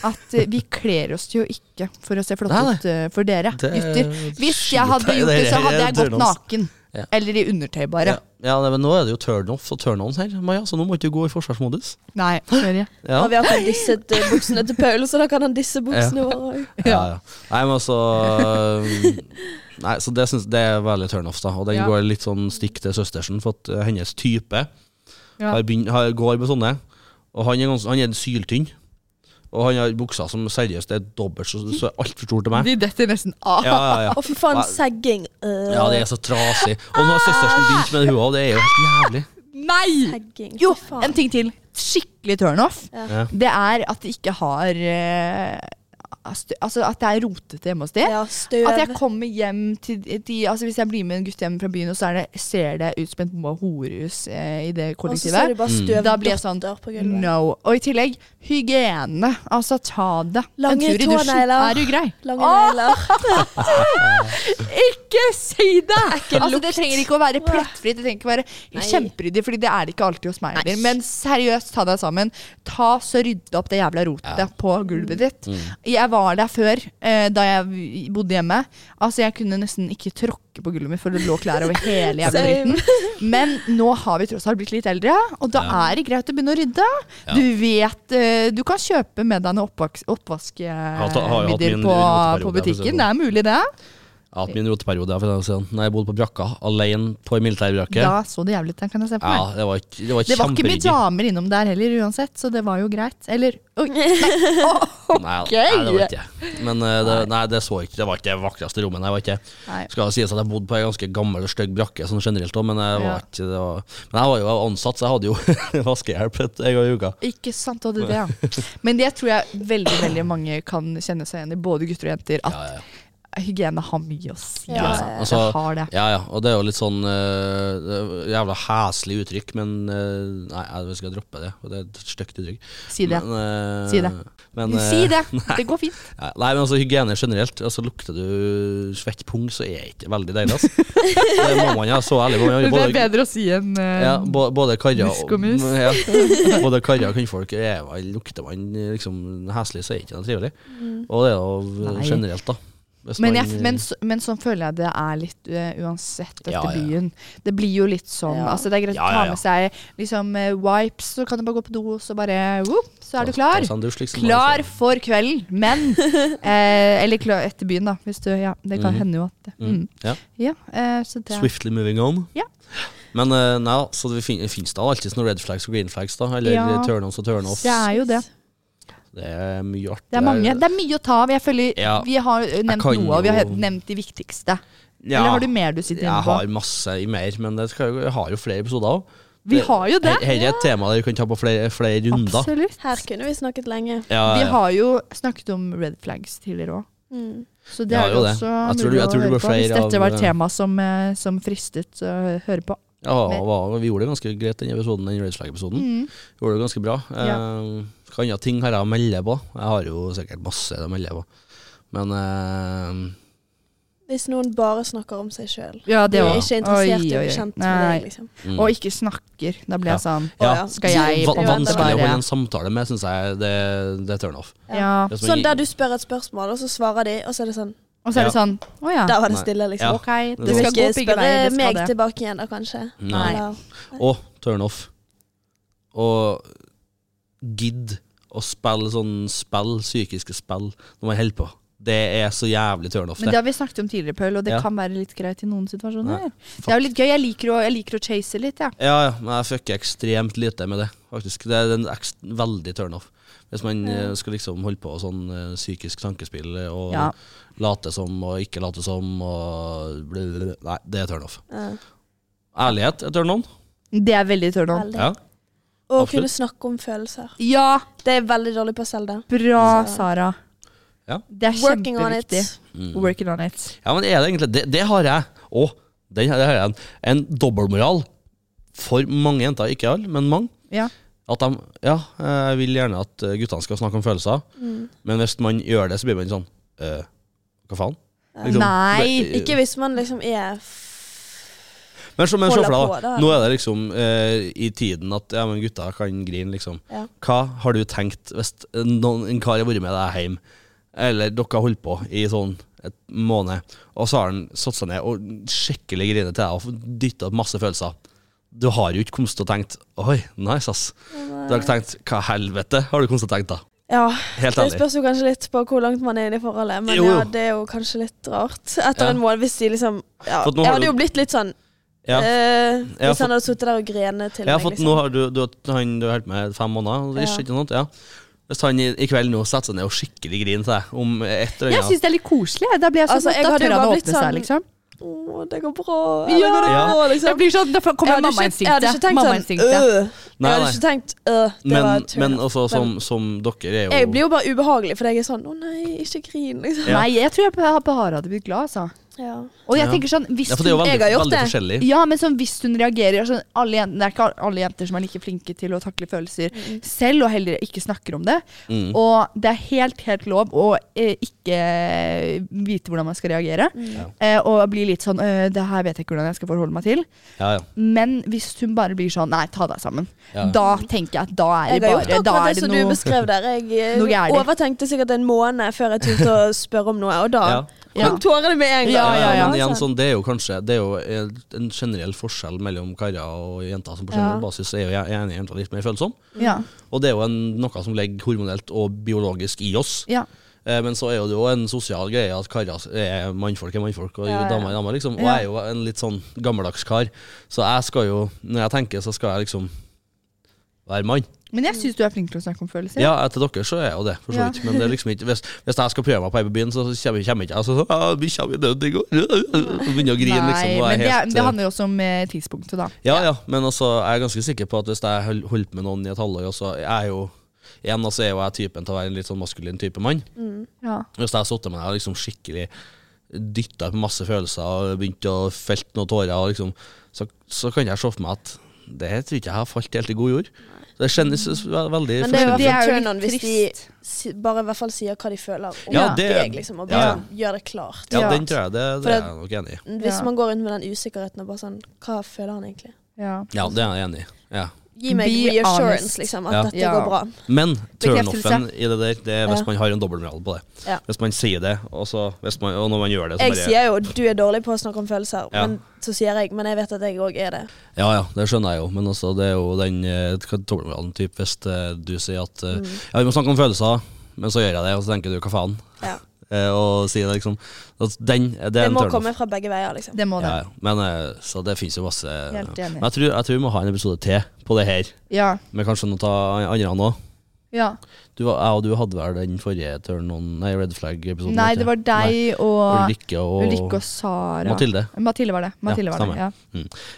[SPEAKER 1] at eh, vi kler oss jo ikke for å se flotte
[SPEAKER 2] Nei, nei.
[SPEAKER 1] ut eh, for dere
[SPEAKER 2] Det er
[SPEAKER 1] gutter. Hvis jeg hadde
[SPEAKER 2] skitt.
[SPEAKER 1] gjort det, så hadde jeg
[SPEAKER 2] Det er
[SPEAKER 1] gått
[SPEAKER 2] turn-ons.
[SPEAKER 1] naken.
[SPEAKER 2] Ja.
[SPEAKER 1] Eller i undertøy, bare.
[SPEAKER 2] Ja, ja nei, men nå er det jo turn-off og turn-ons her, Maja, så nå må du ikke gå i forsvarsmodus.
[SPEAKER 1] Nei, sorry.
[SPEAKER 2] Ja.
[SPEAKER 3] Og vi har fått disset eh, buksene til Paul, så da kan han disse buksene våre òg.
[SPEAKER 2] Ja, ja. Nei, men altså um, Nei, så det, synes, det er veldig turnoff, da. Og den
[SPEAKER 1] Ja.
[SPEAKER 2] går litt sånn stikk til søstersen, for at eh, hennes type
[SPEAKER 1] Ja.
[SPEAKER 2] har begynt, har, går med sånne. Og han er, gans, han er syltynn. Og han har bukser som seriøst er dobbelt så, så altfor stor til meg.
[SPEAKER 1] De detter nesten av.
[SPEAKER 2] Ja, ja, ja.
[SPEAKER 3] Å, fy faen,
[SPEAKER 2] Nei.
[SPEAKER 3] sagging. Øh,
[SPEAKER 2] ja, det er så trasig. Og nå har søstersen begynt med det hun òg, det er jo helt jævlig.
[SPEAKER 1] Nei!
[SPEAKER 3] Sagging.
[SPEAKER 1] Jo,
[SPEAKER 3] fy faen.
[SPEAKER 1] en ting til. Skikkelig turnoff.
[SPEAKER 3] Ja.
[SPEAKER 2] Ja.
[SPEAKER 1] Det er at de ikke har eh, ast- Altså at det er rotete hjemme hos de.
[SPEAKER 3] Ja, støv.
[SPEAKER 1] At jeg kommer hjem til de Altså Hvis jeg blir med en gutt hjem fra byen, og så er det, ser det ut som et bomba horehus eh, i det
[SPEAKER 3] Og så ser
[SPEAKER 1] kollektivet.
[SPEAKER 3] du
[SPEAKER 2] Mm.
[SPEAKER 3] bare støv
[SPEAKER 1] Da blir jeg sånn
[SPEAKER 3] dotter på gulvet.
[SPEAKER 1] No. Og i tillegg hygiene. Altså, ta det.
[SPEAKER 3] Lange
[SPEAKER 1] en tur i dusjen
[SPEAKER 3] tånegler.
[SPEAKER 1] er jo grei.
[SPEAKER 3] Lange
[SPEAKER 1] Åh,
[SPEAKER 3] negler.
[SPEAKER 1] ikke si det!
[SPEAKER 3] Ekkel
[SPEAKER 1] Altså, det
[SPEAKER 3] lukt.
[SPEAKER 1] trenger ikke å være plettfritt. Det trenger ikke å være
[SPEAKER 3] Nei.
[SPEAKER 1] kjemperyddig, Fordi det er det ikke alltid hos meg heller.
[SPEAKER 3] Nei.
[SPEAKER 1] Men seriøst, ta deg sammen. Ta så Rydde opp det jævla rotet
[SPEAKER 2] Ja. Mm.
[SPEAKER 1] på gulvet ditt. Jeg var der før, eh, da jeg bodde hjemme. Altså, jeg kunne nesten ikke tråkke på gulvet mitt, for det lå klær over hele jævla
[SPEAKER 3] Same.
[SPEAKER 1] dritten. Men nå har vi tross alt blitt litt eldre, og da
[SPEAKER 2] Ja.
[SPEAKER 1] er det greit å begynne å rydde.
[SPEAKER 2] Ja.
[SPEAKER 1] Du vet eh, Du kan kjøpe med deg noen oppvaks-
[SPEAKER 2] hatt- har jo hatt
[SPEAKER 1] oppvaskemidler
[SPEAKER 2] min
[SPEAKER 1] på, på
[SPEAKER 2] roteperiode, for å si det
[SPEAKER 1] butikken.
[SPEAKER 2] sånn.
[SPEAKER 1] Det er mulig, det.
[SPEAKER 2] Jeg har hatt min roteperiode for lenge siden. sånn. Når jeg bodde på brakka, alene på en militærbrakke.
[SPEAKER 1] Da så det jævlig ut, den kan jeg se for
[SPEAKER 2] Ja,
[SPEAKER 1] meg.
[SPEAKER 2] det var, ikke- det var,
[SPEAKER 1] Det var ikke mye
[SPEAKER 2] kjemperyddig.
[SPEAKER 1] damer innom der heller uansett, så det var jo greit. Eller oi,
[SPEAKER 2] Nei,
[SPEAKER 1] Ok.
[SPEAKER 2] nei, det var ikke det. Men eh, det, nei, det så ikke Det var ikke det vakreste rommet. Nei, det var ikke.
[SPEAKER 1] Nei.
[SPEAKER 2] Skal det sies at jeg bodde på en ganske gammel og stygg brakke sånn generelt òg, men,
[SPEAKER 1] Ja.
[SPEAKER 2] jeg var ikke, det var, men jeg var jo ansatt, så jeg hadde jo vaskehjelp et- en gang i uka.
[SPEAKER 1] Ikke sant, du hadde det, ja. Men det tror jeg veldig veldig mange kan kjenne seg igjen i, både gutter og jenter, at
[SPEAKER 2] Ja, ja.
[SPEAKER 1] hygiene har mye å si.
[SPEAKER 3] Ja,
[SPEAKER 1] altså.
[SPEAKER 2] ja.
[SPEAKER 1] Det
[SPEAKER 2] Altså,
[SPEAKER 1] har det.
[SPEAKER 2] Ja, ja, og det er jo litt sånn eh, det er jævla heslig uttrykk, men eh, Nei, jeg skal droppe det. og Det er et stygt uttrykk.
[SPEAKER 1] Si det.
[SPEAKER 2] Men, eh,
[SPEAKER 1] Si det.
[SPEAKER 2] men, eh,
[SPEAKER 1] si det! Det går fint.
[SPEAKER 2] Ja, Nei, men altså hygiene generelt. Altså Lukter du svett pung, så er det ikke veldig deilig. Altså. Det må man ja, så ærlig må man
[SPEAKER 1] Det
[SPEAKER 2] være.
[SPEAKER 1] er
[SPEAKER 2] Både,
[SPEAKER 1] bedre å si enn eh,
[SPEAKER 2] ja, bo- både karrer
[SPEAKER 1] Musk og mus.
[SPEAKER 2] Ja, både karrer og kvinnfolk er vel- lukter man liksom heslig, så er det ikke noe trivelig. Og det er jo
[SPEAKER 1] Mm. Nei.
[SPEAKER 2] generelt, da. Hvis
[SPEAKER 1] men,
[SPEAKER 2] man-
[SPEAKER 1] jeg, men, så- men sånn føler jeg det er litt eh, uansett etter
[SPEAKER 2] Ja, ja, ja.
[SPEAKER 1] byen. Det blir jo litt sånn
[SPEAKER 3] Ja.
[SPEAKER 1] altså Det er greit
[SPEAKER 2] Ja,
[SPEAKER 1] å
[SPEAKER 2] ja,
[SPEAKER 1] ta
[SPEAKER 2] ja.
[SPEAKER 1] med seg liksom, eh, wipes, så kan du bare gå på do, og så bare whoop, Så er du klar.
[SPEAKER 2] Ta- ta seg en dusj, liksom,
[SPEAKER 1] Klar
[SPEAKER 2] altså.
[SPEAKER 1] for kvelden, men eh, Eller klar etter byen, da. Hvis du, ja, det kan
[SPEAKER 2] Mhm.
[SPEAKER 1] hende jo at det- mm.
[SPEAKER 2] Mm. Ja.
[SPEAKER 1] Ja, eh, så det
[SPEAKER 2] Swiftly moving on.
[SPEAKER 1] Ja.
[SPEAKER 2] Men eh, nei, da, så det fin finnes da alltid sånne red flags og green flags, da. Eller
[SPEAKER 1] Ja.
[SPEAKER 2] turn-ons og turn-offs.
[SPEAKER 1] Det er jo det.
[SPEAKER 2] Det er mye artig.
[SPEAKER 1] Det er mange. Det er mye å ta av. Jeg føler
[SPEAKER 2] Ja.
[SPEAKER 1] Vi har eh, nevnt
[SPEAKER 2] kan
[SPEAKER 1] noe, og vi har
[SPEAKER 2] jo-
[SPEAKER 1] nevnt de viktigste.
[SPEAKER 2] Ja.
[SPEAKER 1] Eller har du mer du sitter inne
[SPEAKER 2] Jeg
[SPEAKER 1] på?
[SPEAKER 2] har masse i mer, men det skal, jo- jeg har jo flere episoder òg.
[SPEAKER 1] Vi har jo det.
[SPEAKER 2] Dette er et tema dere kan ta på flere, flere runder.
[SPEAKER 1] Absolutt.
[SPEAKER 3] Her kunne vi snakket lenge.
[SPEAKER 2] Ja,
[SPEAKER 1] Vi
[SPEAKER 2] ja.
[SPEAKER 1] har jo snakket om red flags tidligere òg.
[SPEAKER 3] Mm.
[SPEAKER 1] Så det
[SPEAKER 2] Ja,
[SPEAKER 1] er det
[SPEAKER 2] jo det.
[SPEAKER 1] også
[SPEAKER 2] Jeg tror-
[SPEAKER 1] mulig
[SPEAKER 2] jeg
[SPEAKER 1] å
[SPEAKER 2] tror det
[SPEAKER 1] høre
[SPEAKER 2] blir
[SPEAKER 1] på hvis
[SPEAKER 2] flere
[SPEAKER 1] dette var et
[SPEAKER 2] av-
[SPEAKER 1] tema som, eh, som fristet å høre på.
[SPEAKER 2] Ja, hva- vi gjorde det ganske greit, den episoden, den Red Flag-episoden. Gjorde det ganske bra.
[SPEAKER 1] Mm. Ja.
[SPEAKER 2] Eh, Hva andre ting har jeg å melde på? Jeg har jo sikkert masse å melde på. Men eh,
[SPEAKER 3] Hvis noen bare snakker om seg sjøl.
[SPEAKER 1] Ja,
[SPEAKER 3] De
[SPEAKER 1] det
[SPEAKER 3] er
[SPEAKER 1] òg.
[SPEAKER 3] ikke interessert i å
[SPEAKER 1] Oi, oi,
[SPEAKER 3] bli
[SPEAKER 1] oi.
[SPEAKER 3] kjent med
[SPEAKER 1] Nei.
[SPEAKER 3] deg, liksom.
[SPEAKER 2] mm.
[SPEAKER 1] Og ikke snakker. Da ble
[SPEAKER 2] Ja.
[SPEAKER 1] jeg sånn
[SPEAKER 3] Å,
[SPEAKER 2] Ja.
[SPEAKER 3] ja.
[SPEAKER 1] Skal jeg
[SPEAKER 2] Va-
[SPEAKER 1] på en måte
[SPEAKER 2] Vanskelig å
[SPEAKER 1] være-
[SPEAKER 2] holde en samtale med, syns jeg. Det, det er turn off.
[SPEAKER 1] Ja.
[SPEAKER 2] Hvis man
[SPEAKER 3] Sånn
[SPEAKER 2] gir-
[SPEAKER 3] der du spør et spørsmål, og så svarer de, og så er det sånn
[SPEAKER 1] Og så er det sånn Å ja.
[SPEAKER 3] Der var det
[SPEAKER 2] Nei.
[SPEAKER 3] stille,
[SPEAKER 2] Ja.
[SPEAKER 3] liksom.
[SPEAKER 1] Ok, det
[SPEAKER 2] Du
[SPEAKER 3] Du
[SPEAKER 1] skal
[SPEAKER 3] skal
[SPEAKER 1] gå
[SPEAKER 3] ikke
[SPEAKER 1] begge
[SPEAKER 3] spørre
[SPEAKER 1] veier. Det
[SPEAKER 3] meg
[SPEAKER 1] skal det.
[SPEAKER 3] tilbake igjen, da, kanskje.
[SPEAKER 2] Nei.
[SPEAKER 3] Eller-
[SPEAKER 2] Og turn off. Og gidd å spille sånn spill, psykiske spill, når man holder på. Det er så jævlig turn off,
[SPEAKER 1] Men det
[SPEAKER 2] det.
[SPEAKER 1] har vi snakket om tidligere, Paul, og det
[SPEAKER 2] Ja.
[SPEAKER 1] kan være litt greit i noen situasjoner.
[SPEAKER 2] Nei,
[SPEAKER 1] det er jo litt gøy. Jeg liker å, jeg liker å chase litt, jeg.
[SPEAKER 2] Ja, ja, men jeg fucker ekstremt lite med det, faktisk. Det er en ekst, veldig turn off. Hvis man eh, skal liksom holde på sånn eh, psykisk tankespill eh, og
[SPEAKER 1] Ja.
[SPEAKER 2] late som og ikke late som og blablabla. Nei, det er turn off.
[SPEAKER 3] Ja.
[SPEAKER 2] Ærlighet er turn on.
[SPEAKER 1] Det er veldig turn on.
[SPEAKER 3] Veldig.
[SPEAKER 2] Ja.
[SPEAKER 3] Og å
[SPEAKER 2] absolutt.
[SPEAKER 3] kunne snakke om følelser.
[SPEAKER 1] Ja,
[SPEAKER 3] Det er veldig dårlig på selv det.
[SPEAKER 1] bra,
[SPEAKER 3] Så-
[SPEAKER 1] Sara.
[SPEAKER 2] Ja.
[SPEAKER 1] Det er
[SPEAKER 3] Working on it.
[SPEAKER 1] kjempeviktig.
[SPEAKER 2] Mm.
[SPEAKER 1] Working on it.
[SPEAKER 2] Ja, men er det egentlig Det, det har jeg. Å, den her det har jeg en, en dobbeltmoral for mange jenter. Ikke alle, men mange.
[SPEAKER 1] Ja.
[SPEAKER 2] At de Ja, jeg vil gjerne at eh, guttene skal snakke om følelser,
[SPEAKER 3] Mm.
[SPEAKER 2] men hvis man gjør det, så blir man sånn eh, Hva faen? Liksom,
[SPEAKER 3] Ja.
[SPEAKER 1] Nei,
[SPEAKER 2] det-
[SPEAKER 3] Ikke hvis man liksom er f-
[SPEAKER 2] Men så- men se
[SPEAKER 3] holder
[SPEAKER 2] for
[SPEAKER 3] på,
[SPEAKER 2] deg, da.
[SPEAKER 3] da.
[SPEAKER 2] Nå er det liksom eh, i tiden at ja, men gutta kan grine, liksom.
[SPEAKER 3] Ja.
[SPEAKER 2] Hva har du tenkt hvis noen, en kar har vært med deg hjem, eller dere har holdt på i sånn et måned, og så har han satt seg ned og skikkelig griner til deg og dytta opp masse følelser. Du har jo ikke kommet til å tenkt Oi, nice, ass. Du har ikke tenkt Hva i helvete har du kommet til å tenkt, da?
[SPEAKER 3] Ja.
[SPEAKER 2] Helt
[SPEAKER 3] Det
[SPEAKER 2] ærlig.
[SPEAKER 3] spørs jo kanskje litt på hvor langt man er i det forholdet, men
[SPEAKER 2] Jo, jo.
[SPEAKER 3] ja, det er jo kanskje litt rart. Etter
[SPEAKER 2] Ja.
[SPEAKER 3] en måned, hvis de liksom ja.
[SPEAKER 2] For at nå
[SPEAKER 3] Jeg
[SPEAKER 2] har
[SPEAKER 3] hadde
[SPEAKER 2] du-
[SPEAKER 3] jo blitt litt sånn
[SPEAKER 2] Ja.
[SPEAKER 3] eh, Hvis
[SPEAKER 2] Ja, for-
[SPEAKER 3] han hadde sittet der og grenet til
[SPEAKER 2] Ja,
[SPEAKER 3] meg, liksom.
[SPEAKER 2] for at nå har du, du, han du har holdt med fem måneder,
[SPEAKER 3] Ja.
[SPEAKER 2] ikke, ikke sant? Ja. Hvis han i, i kveld nå setter seg ned og skikkelig griner til deg om et eller
[SPEAKER 1] Jeg
[SPEAKER 2] annet
[SPEAKER 1] syns det er litt koselig. jeg. Da blir jeg sånn
[SPEAKER 3] Altså, jeg
[SPEAKER 1] Da
[SPEAKER 3] hadde jo
[SPEAKER 1] tør han å
[SPEAKER 3] bare
[SPEAKER 1] åpne
[SPEAKER 3] blitt
[SPEAKER 1] seg,
[SPEAKER 3] sånn-
[SPEAKER 1] liksom.
[SPEAKER 3] Å, det går
[SPEAKER 1] Ja.
[SPEAKER 3] bra. Eller går det
[SPEAKER 2] Ja.
[SPEAKER 3] bra,
[SPEAKER 1] Jeg
[SPEAKER 3] liksom.
[SPEAKER 1] blir sånn, Da kommer
[SPEAKER 3] hadde ikke- jeg hadde
[SPEAKER 1] mammainstinktet.
[SPEAKER 3] ikke tenkt
[SPEAKER 1] Mammainstinktet.
[SPEAKER 3] sånn øh. Jeg hadde ikke tenkt øh, det var
[SPEAKER 2] Men,
[SPEAKER 3] turn
[SPEAKER 2] men
[SPEAKER 3] off.
[SPEAKER 2] også sånn- som, som dere er jo
[SPEAKER 3] Jeg blir jo bare ubehagelig, for jeg er sånn Å nei, ikke grin, liksom.
[SPEAKER 2] Ja.
[SPEAKER 1] Nei, jeg tror jeg bare- bare hadde blitt glad, altså.
[SPEAKER 3] Ja.
[SPEAKER 1] Og jeg
[SPEAKER 2] Ja.
[SPEAKER 1] tenker sånn hvis
[SPEAKER 2] ja, for det er jo
[SPEAKER 1] hun-
[SPEAKER 2] veldig,
[SPEAKER 3] jeg har
[SPEAKER 2] veldig
[SPEAKER 3] gjort det.
[SPEAKER 2] forskjellig.
[SPEAKER 1] Ja, men sånn, hvis hun reagerer sånn, alle jenter, Det er ikke alle jenter som er like flinke til å takle følelser
[SPEAKER 3] Mm,
[SPEAKER 1] selv, og heller ikke snakker om det.
[SPEAKER 2] Mm.
[SPEAKER 1] Og det er helt, helt lov å eh, ikke eh, vite hvordan man skal reagere.
[SPEAKER 3] Mm.
[SPEAKER 2] Ja.
[SPEAKER 1] Eh, og bli litt sånn eh, 'Det her vet jeg ikke hvordan jeg skal forholde meg til'.
[SPEAKER 2] Ja, ja.
[SPEAKER 1] Men hvis hun bare blir sånn 'Nei, ta deg sammen',
[SPEAKER 2] Ja.
[SPEAKER 1] da tenker jeg at da er
[SPEAKER 3] Jeg
[SPEAKER 1] det
[SPEAKER 3] har gjort
[SPEAKER 1] bare Da
[SPEAKER 3] akkurat
[SPEAKER 1] er
[SPEAKER 3] det
[SPEAKER 1] det
[SPEAKER 3] som du
[SPEAKER 1] noe
[SPEAKER 3] beskrev der. Jeg
[SPEAKER 1] Noe
[SPEAKER 3] eh,
[SPEAKER 1] gærlig.
[SPEAKER 3] overtenkte sikkert en måned før jeg turte å spørre om noe, og da
[SPEAKER 2] Ja.
[SPEAKER 1] Ja.
[SPEAKER 3] kom tårene med en gang.
[SPEAKER 1] Ja, ja, ja.
[SPEAKER 3] altså.
[SPEAKER 2] Men igjen, sånn, det er jo kanskje Det er jo eh, en generell forskjell mellom karer og jenter som på generell
[SPEAKER 3] Ja.
[SPEAKER 2] basis er jo jeg jeg er enig i jenter er litt mer følsomme.
[SPEAKER 1] ja,
[SPEAKER 3] Mm.
[SPEAKER 2] Og det er jo en, noe som ligger hormonelt og biologisk i oss.
[SPEAKER 1] ja.
[SPEAKER 2] Eh, Men så er jo det jo en sosial greie at karer er mannfolk er mannfolk, og
[SPEAKER 3] Ja, ja.
[SPEAKER 2] damer er damer, liksom. Og
[SPEAKER 1] Ja.
[SPEAKER 2] jeg er jo en litt sånn gammeldags kar, så jeg skal jo, når jeg tenker, så skal jeg liksom være mann.
[SPEAKER 1] Men jeg syns du er flink til å snakke om følelser.
[SPEAKER 2] Ja, etter dere så er jeg jo det, for så
[SPEAKER 1] Ja.
[SPEAKER 2] vidt. Men det er liksom ikke, hvis, hvis jeg skal prøve meg på ei på byen, så kommer jeg kommer ikke jeg så, så, «Ah, Vi kommer døde i går. Og begynner å grine,
[SPEAKER 1] Nei,
[SPEAKER 2] liksom. Og
[SPEAKER 1] men
[SPEAKER 2] jeg
[SPEAKER 1] det,
[SPEAKER 2] er
[SPEAKER 1] er-
[SPEAKER 2] helt,
[SPEAKER 1] det handler jo også om eh, tidspunktet, da.
[SPEAKER 2] ja, ja, men altså, jeg er ganske sikker på at hvis jeg hol- holdt med noen i et halvår, og så jeg er jo Igjen altså, er jo jeg typen til å være en litt sånn maskulin type mann.
[SPEAKER 1] Ja.
[SPEAKER 2] Hvis jeg har sittet med deg og liksom skikkelig dytta på masse følelser og begynt å felte noen tårer, og liksom, så, så kan jeg se for meg at det tror ikke jeg har falt helt i god jord. Det kjennes ve- veldig
[SPEAKER 3] Men det er jo
[SPEAKER 1] Men
[SPEAKER 3] i
[SPEAKER 1] det
[SPEAKER 2] forskjellig.
[SPEAKER 1] er jo
[SPEAKER 3] hvert fall turn
[SPEAKER 1] litt
[SPEAKER 3] on hvis de
[SPEAKER 1] trist.
[SPEAKER 3] si- bare i hvert fall sier hva de føler om
[SPEAKER 2] Ja, det-
[SPEAKER 3] deg, liksom, og bare
[SPEAKER 2] ja, ja.
[SPEAKER 3] gjør det klart.
[SPEAKER 2] Ja,
[SPEAKER 1] Ja.
[SPEAKER 2] den tror jeg det,
[SPEAKER 3] For
[SPEAKER 2] det er
[SPEAKER 3] det-
[SPEAKER 2] jeg nok enig i.
[SPEAKER 3] Hvis
[SPEAKER 1] Ja.
[SPEAKER 3] man går rundt med den usikkerheten og bare sånn Hva føler han egentlig?
[SPEAKER 1] Ja.
[SPEAKER 2] Ja, det er jeg enig i. Ja.
[SPEAKER 3] Gi meg
[SPEAKER 1] Be
[SPEAKER 3] reassurance,
[SPEAKER 1] honest.
[SPEAKER 3] liksom, at
[SPEAKER 2] Ja.
[SPEAKER 3] dette
[SPEAKER 1] Ja.
[SPEAKER 3] går bra.
[SPEAKER 2] Men
[SPEAKER 1] Bekreftelse.
[SPEAKER 2] turnoffen i det der, det er hvis
[SPEAKER 3] Ja.
[SPEAKER 2] man har en dobbeltmoral på det.
[SPEAKER 3] Ja.
[SPEAKER 2] Hvis man sier det, og, så, hvis man, og når man gjør det, så
[SPEAKER 3] Jeg
[SPEAKER 2] bare
[SPEAKER 3] sier jo 'du er dårlig på å snakke om følelser',
[SPEAKER 2] Ja.
[SPEAKER 3] men så sier jeg 'men jeg vet at jeg òg er det'.
[SPEAKER 2] Ja ja, det skjønner jeg jo, men altså, det er jo den eh, hva dobbeltmoralen type hvis eh, du sier at
[SPEAKER 3] Mm.
[SPEAKER 2] eh, Ja, vi må snakke om følelser, men så gjør jeg det, og så tenker du hva faen?
[SPEAKER 3] Ja.
[SPEAKER 2] Eh, og sier det liksom at Den, det er
[SPEAKER 3] Det
[SPEAKER 2] en
[SPEAKER 3] må
[SPEAKER 2] turnoff.
[SPEAKER 3] komme fra begge veier, liksom.
[SPEAKER 1] Det må
[SPEAKER 2] Ja,
[SPEAKER 1] det.
[SPEAKER 2] ja. Men, eh, så det finnes jo masse
[SPEAKER 1] Helt enig.
[SPEAKER 2] Men jeg tror, jeg tror vi må ha en episode til på det her,
[SPEAKER 1] Ja.
[SPEAKER 2] med kanskje noe av andre nå.
[SPEAKER 1] ja.
[SPEAKER 2] Du, var- jeg og du hadde vel den forrige turn on, nei, red flag-episoden?
[SPEAKER 1] Nei,
[SPEAKER 2] ikke?
[SPEAKER 1] det var deg
[SPEAKER 2] Og
[SPEAKER 1] og
[SPEAKER 2] Lykke og,
[SPEAKER 1] Ulrikke og Sara.
[SPEAKER 2] Mathilde.
[SPEAKER 1] Mathilde var det. Mathilde var det.
[SPEAKER 2] stemmer.
[SPEAKER 1] Ja.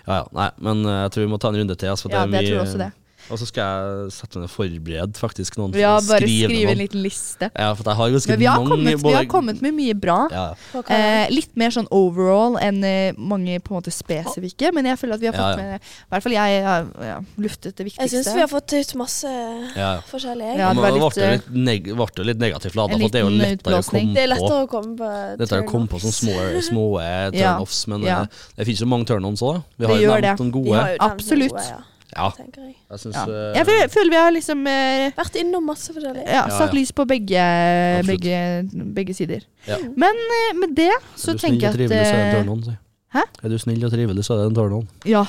[SPEAKER 2] Ja, ja. Nei, men eh, jeg tror vi må ta en runde til. Altså,
[SPEAKER 1] Ja,
[SPEAKER 2] er
[SPEAKER 1] det jeg
[SPEAKER 2] mye-
[SPEAKER 1] tror også det.
[SPEAKER 2] Og så skal jeg sette meg ned og forberede faktisk noen.
[SPEAKER 1] Ja, bare skrive
[SPEAKER 2] noen.
[SPEAKER 1] en liten liste.
[SPEAKER 2] Ja, for sånn jeg har ganske
[SPEAKER 1] Men vi har,
[SPEAKER 2] mange
[SPEAKER 1] kommet, vi
[SPEAKER 2] både-
[SPEAKER 1] har kommet med mye bra.
[SPEAKER 2] Ja, ja.
[SPEAKER 3] På hva-
[SPEAKER 1] Eh, litt mer sånn overall enn eh, mange på en måte spesifikke, men jeg føler at vi har
[SPEAKER 2] Ja,
[SPEAKER 1] fått
[SPEAKER 2] ja.
[SPEAKER 1] med I hvert fall jeg har ja, luftet det
[SPEAKER 3] jeg
[SPEAKER 1] viktigste.
[SPEAKER 3] syns vi har fått ut masse
[SPEAKER 2] ja. ja.
[SPEAKER 3] forskjellig. jeg.
[SPEAKER 1] Ja, det
[SPEAKER 2] Men
[SPEAKER 1] var
[SPEAKER 2] det
[SPEAKER 1] litt, eh,
[SPEAKER 2] ble jo litt, neg ble jo litt negativt lada,
[SPEAKER 1] en
[SPEAKER 2] for det er jo
[SPEAKER 1] liten eh,
[SPEAKER 2] lettere å
[SPEAKER 1] utblåsning.
[SPEAKER 2] komme
[SPEAKER 3] Det er
[SPEAKER 2] på.
[SPEAKER 3] lettere å komme på
[SPEAKER 2] Lettere å komme på sånne små, små eh,
[SPEAKER 1] Ja,
[SPEAKER 2] turnoffs, men
[SPEAKER 1] ja.
[SPEAKER 2] eh, det finnes jo mange turnoffs òg. Vi
[SPEAKER 1] Det
[SPEAKER 2] har jo
[SPEAKER 1] gjør
[SPEAKER 2] nevnt
[SPEAKER 1] det.
[SPEAKER 2] noen gode.
[SPEAKER 1] Absolutt.
[SPEAKER 3] Gode, ja,
[SPEAKER 2] Ja,
[SPEAKER 3] tenker jeg.
[SPEAKER 2] jeg syns
[SPEAKER 1] ja.
[SPEAKER 2] eh,
[SPEAKER 1] Jeg føler, føler vi har liksom eh,
[SPEAKER 3] Vært innom masse forskjellig.
[SPEAKER 1] ja,
[SPEAKER 2] Ja,
[SPEAKER 1] satt
[SPEAKER 2] ja.
[SPEAKER 1] lys på begge,
[SPEAKER 2] Absolutt.
[SPEAKER 1] begge, begge sider.
[SPEAKER 2] Ja.
[SPEAKER 1] Men eh, med det så
[SPEAKER 2] er du snill
[SPEAKER 1] tenker
[SPEAKER 2] og
[SPEAKER 1] jeg
[SPEAKER 2] trivelig, så er det en
[SPEAKER 1] at eh,
[SPEAKER 2] turn-on, sier jeg.
[SPEAKER 1] Hæ?
[SPEAKER 2] Er du snill og trivelig, så er det en turn-on.
[SPEAKER 1] ja.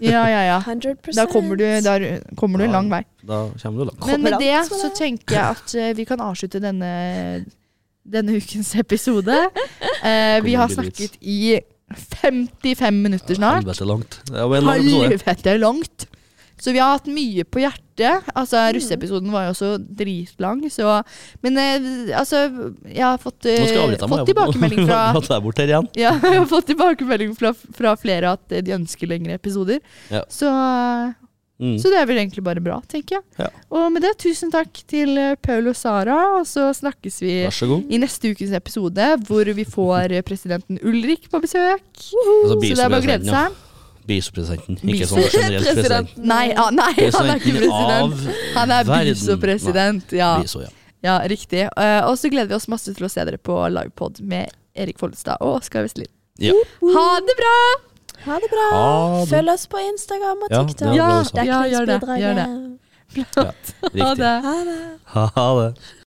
[SPEAKER 1] ja, ja, ja.
[SPEAKER 3] 100
[SPEAKER 1] Da kommer du, da kommer du en
[SPEAKER 2] Ja.
[SPEAKER 1] lang vei.
[SPEAKER 2] Da kommer du langt. altså.
[SPEAKER 1] Men med
[SPEAKER 3] langt
[SPEAKER 1] det
[SPEAKER 3] med
[SPEAKER 1] så
[SPEAKER 3] det.
[SPEAKER 1] tenker jeg at eh, vi kan avslutte denne denne ukens episode. Eh, vi har snakket i 55 minutter snart.
[SPEAKER 2] Helvete langt. Det er jo en lang episode.
[SPEAKER 1] Helvete langt! Så vi har hatt mye på hjertet. Altså, Russeepisoden var jo også dritlang, så Men eh, altså, jeg har fått, eh,
[SPEAKER 2] Nå skal jeg avbryte deg.
[SPEAKER 1] fått tilbakemelding fra
[SPEAKER 2] Nå tar jeg bort her igjen.
[SPEAKER 1] ja, jeg har fått tilbakemelding fra, fra flere at de ønsker lengre episoder.
[SPEAKER 2] Ja.
[SPEAKER 1] Så, eh,
[SPEAKER 2] Mm.
[SPEAKER 1] så det er vel egentlig bare bra, tenker jeg.
[SPEAKER 2] Ja.
[SPEAKER 1] Og med det, tusen takk til eh, Paul og Sara, og så snakkes vi
[SPEAKER 2] Vær så god.
[SPEAKER 1] i neste ukens episode, hvor vi får eh, presidenten Ulrik på besøk.
[SPEAKER 2] Altså,
[SPEAKER 1] så det er bare å glede
[SPEAKER 2] bisopresidenten, ja.
[SPEAKER 1] seg.
[SPEAKER 2] Bisopresidenten,
[SPEAKER 1] Biso-
[SPEAKER 2] ikke sånn generelt president.
[SPEAKER 1] Nei, ah, nei, han er ikke
[SPEAKER 2] Presidenten
[SPEAKER 1] president. Han er
[SPEAKER 2] verden.
[SPEAKER 1] visepresident. Ja.
[SPEAKER 2] Biso, ja.
[SPEAKER 1] ja, riktig. Eh, Og så gleder vi oss masse til å se dere på livepod med Erik Follestad og Oskar Vestlin.
[SPEAKER 2] Ja.
[SPEAKER 1] Ha det bra!
[SPEAKER 3] Ha det bra.
[SPEAKER 2] Ha det.
[SPEAKER 3] Følg oss på Instagram og
[SPEAKER 2] Ja,
[SPEAKER 3] TikTok.
[SPEAKER 2] det
[SPEAKER 1] Ja,
[SPEAKER 2] var bra sagt.
[SPEAKER 1] ja, gjør det, gjør det.
[SPEAKER 3] Dekningsbidraget.
[SPEAKER 2] Ja,
[SPEAKER 1] Ha
[SPEAKER 2] riktig.
[SPEAKER 1] det.
[SPEAKER 3] Ha det.
[SPEAKER 2] Ha det.